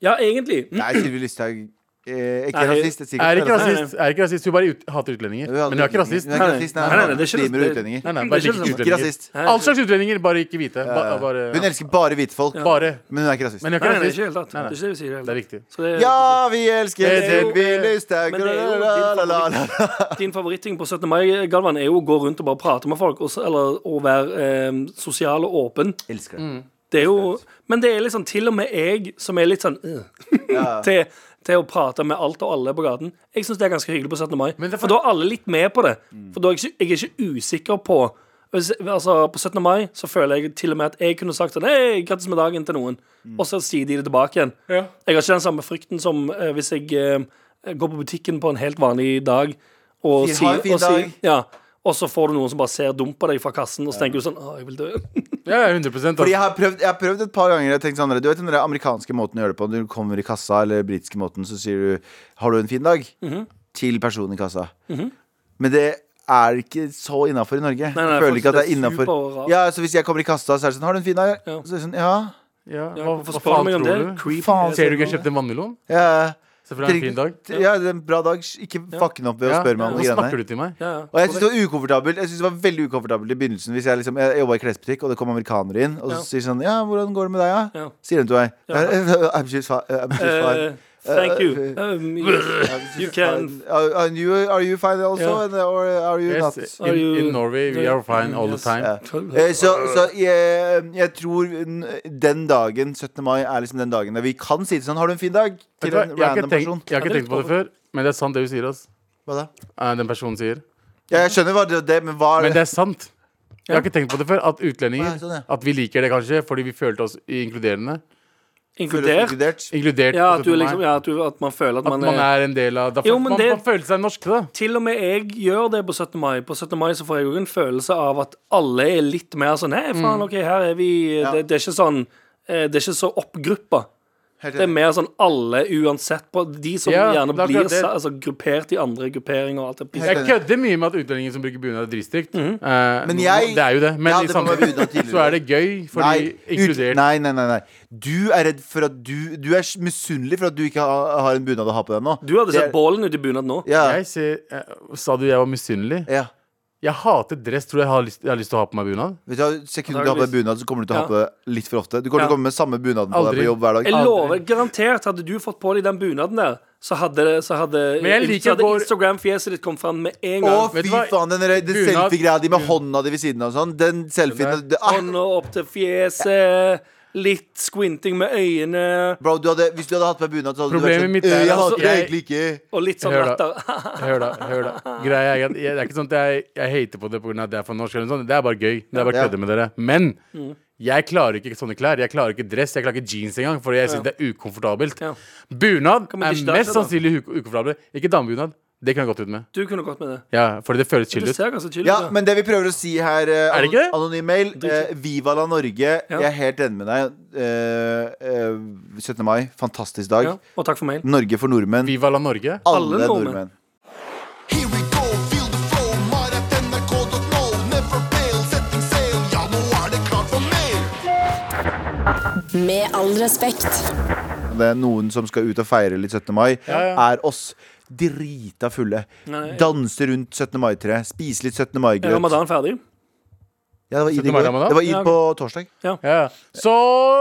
Ja, egentlig. Mm. Nei, Sylvi Listhaug eh, er ikke Nei, rasist. Er sikkert Er ikke rasist. rasist. Er ikke rasist. Hun bare ut, hater utlendinger. Hun er Men hun er ikke rasist. Hun er ikke rasist, nei, Nei, nei, nei, det er ikke driver med rasist. utlendinger. Nei, nei, Det er bare ikke liker det Ikke utlendinger. rasist. Nei, All slags utlendinger, bare ikke hvite. Ba, bare, Eh, Hun elsker bare hvite folk. bare. Men hun er ikke rasist. Men hun er Nei, ikke nei, det er rasist. ikke helt rett. Det Nei, nei. er ikke det vi sier. Det helt er rett. riktig. Så det er- Ja, vi elsker Det er jo- Sylvi Listhaug. Men det er jo din la-la-la-la-la. Din favoritting på 17. mai, Galvan, er jo å gå rundt og bare prate med folk, og, så- eller å være eh, sosial og åpen. Elsker det. Det er jo, men det er liksom til og med jeg som er litt sånn øh, Ja. til, til å prate med alt og alle på gaten. Jeg syns det er ganske hyggelig på 17. mai. Men det er for for- da er alle litt med på det. For da er jeg ikke, jeg er ikke usikker på Hvis, altså, på 17. mai så føler jeg til og med at jeg kunne sagt sånn Hei, grattis med dagen til noen. Og så sier de det tilbake igjen. Ja. Jeg har ikke den samme frykten som eh, hvis jeg eh, går på butikken på en helt vanlig dag og Sier, «Ha sier en fin og, sier- dag». ja, og så får du noen som bare ser dumt på deg fra kassen, og så tenker du sånn Å, jeg vil dø. Ja, ja, 100 Fordi jeg altså. har, prøvd, jeg har prøvd et par ganger. Jeg tenkte sånn, du vet den der amerikanske måten å gjøre det på. Når du kommer i kassa, eller britiske måten, så sier du 'Har du en fin dag?' til personen i kassa. Men det er ikke så innafor i Norge. jeg nei, føler faktisk, ikke at det er det er innafor. superrart. Ja, så hvis jeg kommer i kassa, så er det sånn 'Har du en fin dag?' Ja. Så er det sånn, ja. Ja, Ja, hva, Hvorfor hva spør du faen meg om det? tror du? Creepy. Faen, Ser du ikke jeg kjøpte en vannmelon? ja. Selvfølgelig er det en fin dag. Ja, det er en bra dag. Ikke fuck den opp ved å Ja. spørre meg om Hvorfor de greiene. snakker du til meg? Ja, Og jeg synes det var ukomfortabelt Jeg synes det var veldig ukomfortabelt i begynnelsen. Hvis Jeg, liksom, jeg jobba i klesbutikk, og det kom amerikanere inn. Og så Ja. sier de sånn Ja, hvordan går det med deg, da? Ja. Sier de til meg. Ja. I'm just fine. I'm just fine. Eh, thank you. Eh, Um, you- you can Are, are you, are you fine also? Ja. And, or are you not? Yes, Are in, you- in Norway we are fine all the Yes. time. Ja. Eh, Så, så jeg, jeg tror den dagen, 17. mai, er liksom den dagen der vi kan si det sånn. Har du en fin dag? Vet Til du hva, en Jeg har ikke random person. tenkt, jeg har ikke Ja, tenkt på det før, men det er sant det hun sier. ass. Hva da? Eh, Den personen sier. Ja, jeg skjønner hva det, det men hva Men er det det? er sant. Jeg har ikke tenkt på det før, at Nei, sånn, utlendinger ja. At vi liker det kanskje fordi vi følte oss inkluderende. Inkludert. Inkludert? Inkludert. Ja, på at, du 17. mai. liksom, ja, at, du, at man føler at At man, man er, er en del av Da Jo, føler men man, det- man føler seg norske, da. Til og med jeg gjør det på 17. mai. På 17. mai så får jeg òg en følelse av at alle er litt mer sånn Hei, faen, OK, her er vi det, det er ikke sånn eh, Det er ikke så oppgruppa. Helt Det er enig. mer sånn alle uansett på De som Ja, gjerne det er blir akkurat det. sa- altså, gruppert i andre grupperinger og alt det pisset. Jeg kødder mye med at utlendinger som bruker bunad, er dritstygt. Mhm. Eh, Men no- jeg- det er jo det. Men jeg i hadde på meg bunad samfunnet tidligere. så er det gøy, fordi ut- inkludert Nei, nei, nei, nei. Du er redd for at du Du er s- misunnelig for at du ikke har, har en bunad å ha på deg nå. Du hadde Det sett er- bålen ute i bunad nå. Ja. Jeg ser, eh, Sa du jeg var misunnelig? ja. Jeg hater dress. Tror du jeg har lyst, jeg har lyst til å ha på meg bunad? Vet du, hva, Sekundet du har på deg bunad, så kommer du til å ha Ja. på deg litt for ofte. Du kommer Ja. til å komme med samme bunaden på deg Aldri. på jobb hver dag. Jeg lover, garantert Hadde du fått på deg den bunaden der, så hadde, det- så hadde, Men jeg liker så hadde vår- Instagram-fjeset ditt kommet fram med en Å, gang. Vet fy du hva? faen, den, der- den Bunad- selfie-greia di med bunad. hånda di ved siden av og sånn. Den selfien det- ah, Hånda opp til fjeset, litt squinting med øynene Bro, du hadde, Hvis du hadde hatt på deg bunad, så hadde Problemet du vært sånn mitt er «Øh, Jeg altså- hater jeg- det egentlig ikke. og litt sånn Hør da. latter. Hør da, hør da. Greia er at jeg, det er ikke sånn at jeg, jeg hater på det pga. at det er for norsk. eller noe sånt Det er bare gøy. Det er bare Ja. kødde med dere. Men Mm. jeg klarer ikke sånne klær. Jeg klarer ikke dress, jeg klarer ikke jeans engang, fordi jeg syns det er ukomfortabelt. Ja. Bunad men er det er ikke mest derfor, da. sannsynlig uko- ukomfortabel. Ikke damebunad. Det kan jeg godt ut med. Du kunne gått med det. Ja, fordi det føles Du chill ut. ser ganske chill ut. Ja, da. men det vi prøver å si her eh, Er det ikke det? Anonym mail. eh, Viva la Norge. Jeg er helt enig med deg. Eh, eh, 17. mai, fantastisk dag. ja. Og takk for mailen. Norge for nordmenn. Viva la Norge. Ah. alle Alle nordmenn. nordmenn. Here we go, feel the flow, maratnrk.no. Never fail, setting sail, ja, nå er det klart for mer. Med all respekt. Det er noen som skal ut og feire litt 17. mai, ja. er oss. Drita fulle. Nei. Danse rundt 17. mai-tre. Spise litt 17. Er mai-grøt. ramadan ferdig? Ja, det var id i 17. mai går. ramadan? Det var Ja, id på torsdag. Ja. Så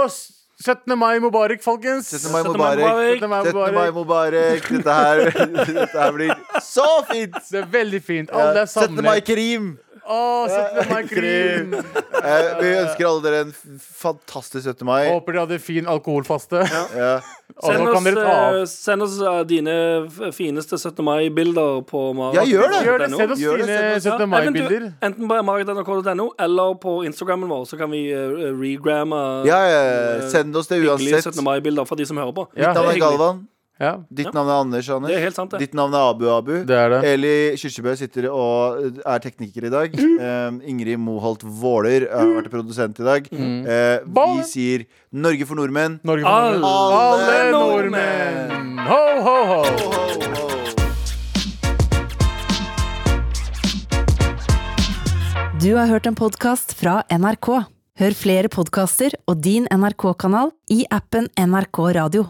s- 17. mai mubarak, folkens. 17. mai 17. mai mubarak. mubarak. 17. mai 17. mai mubarak. mubarak. Dette her, dette her blir så fint! Det er veldig fint. Alle Ja, er 17. mai samlet. Karim. Å, 17. mai krim. Eh, vi ønsker alle dere en f- fantastisk 17. mai. Håper dere hadde fin alkoholfaste. Ja. Og Send nå oss, kan dere ta av. eh, send oss eh, dine f- fineste 17. mai-bilder på Marit. Ja, gjør det. Gjør det, Send oss Gjør det, dine send oss- 17. mai-bilder. Enten på marit.nrk.no eller på Instagrammen vår, så kan vi eh, regramme ja, ja, send oss det hyggelige uansett. 17. mai-bilder fra de som hører på. Ja. Mitt navn er Det er hyggelig. Galvan. Ja, Ditt navn er Anders. Anders. Det er helt sant, det. Ditt navn er Abu Abu. det er det. Eli Kyrkjebø sitter og er tekniker i dag. Um, Ingrid Moholt Våler har vært produsent i dag. Mm. Eh, Ballen. vi sier Norge for nordmenn. Norge for nordmenn. Alle nordmenn! Ho, ho, ho! Du har hørt en podkast fra NRK. Hør flere podkaster og din NRK-kanal i appen NRK Radio.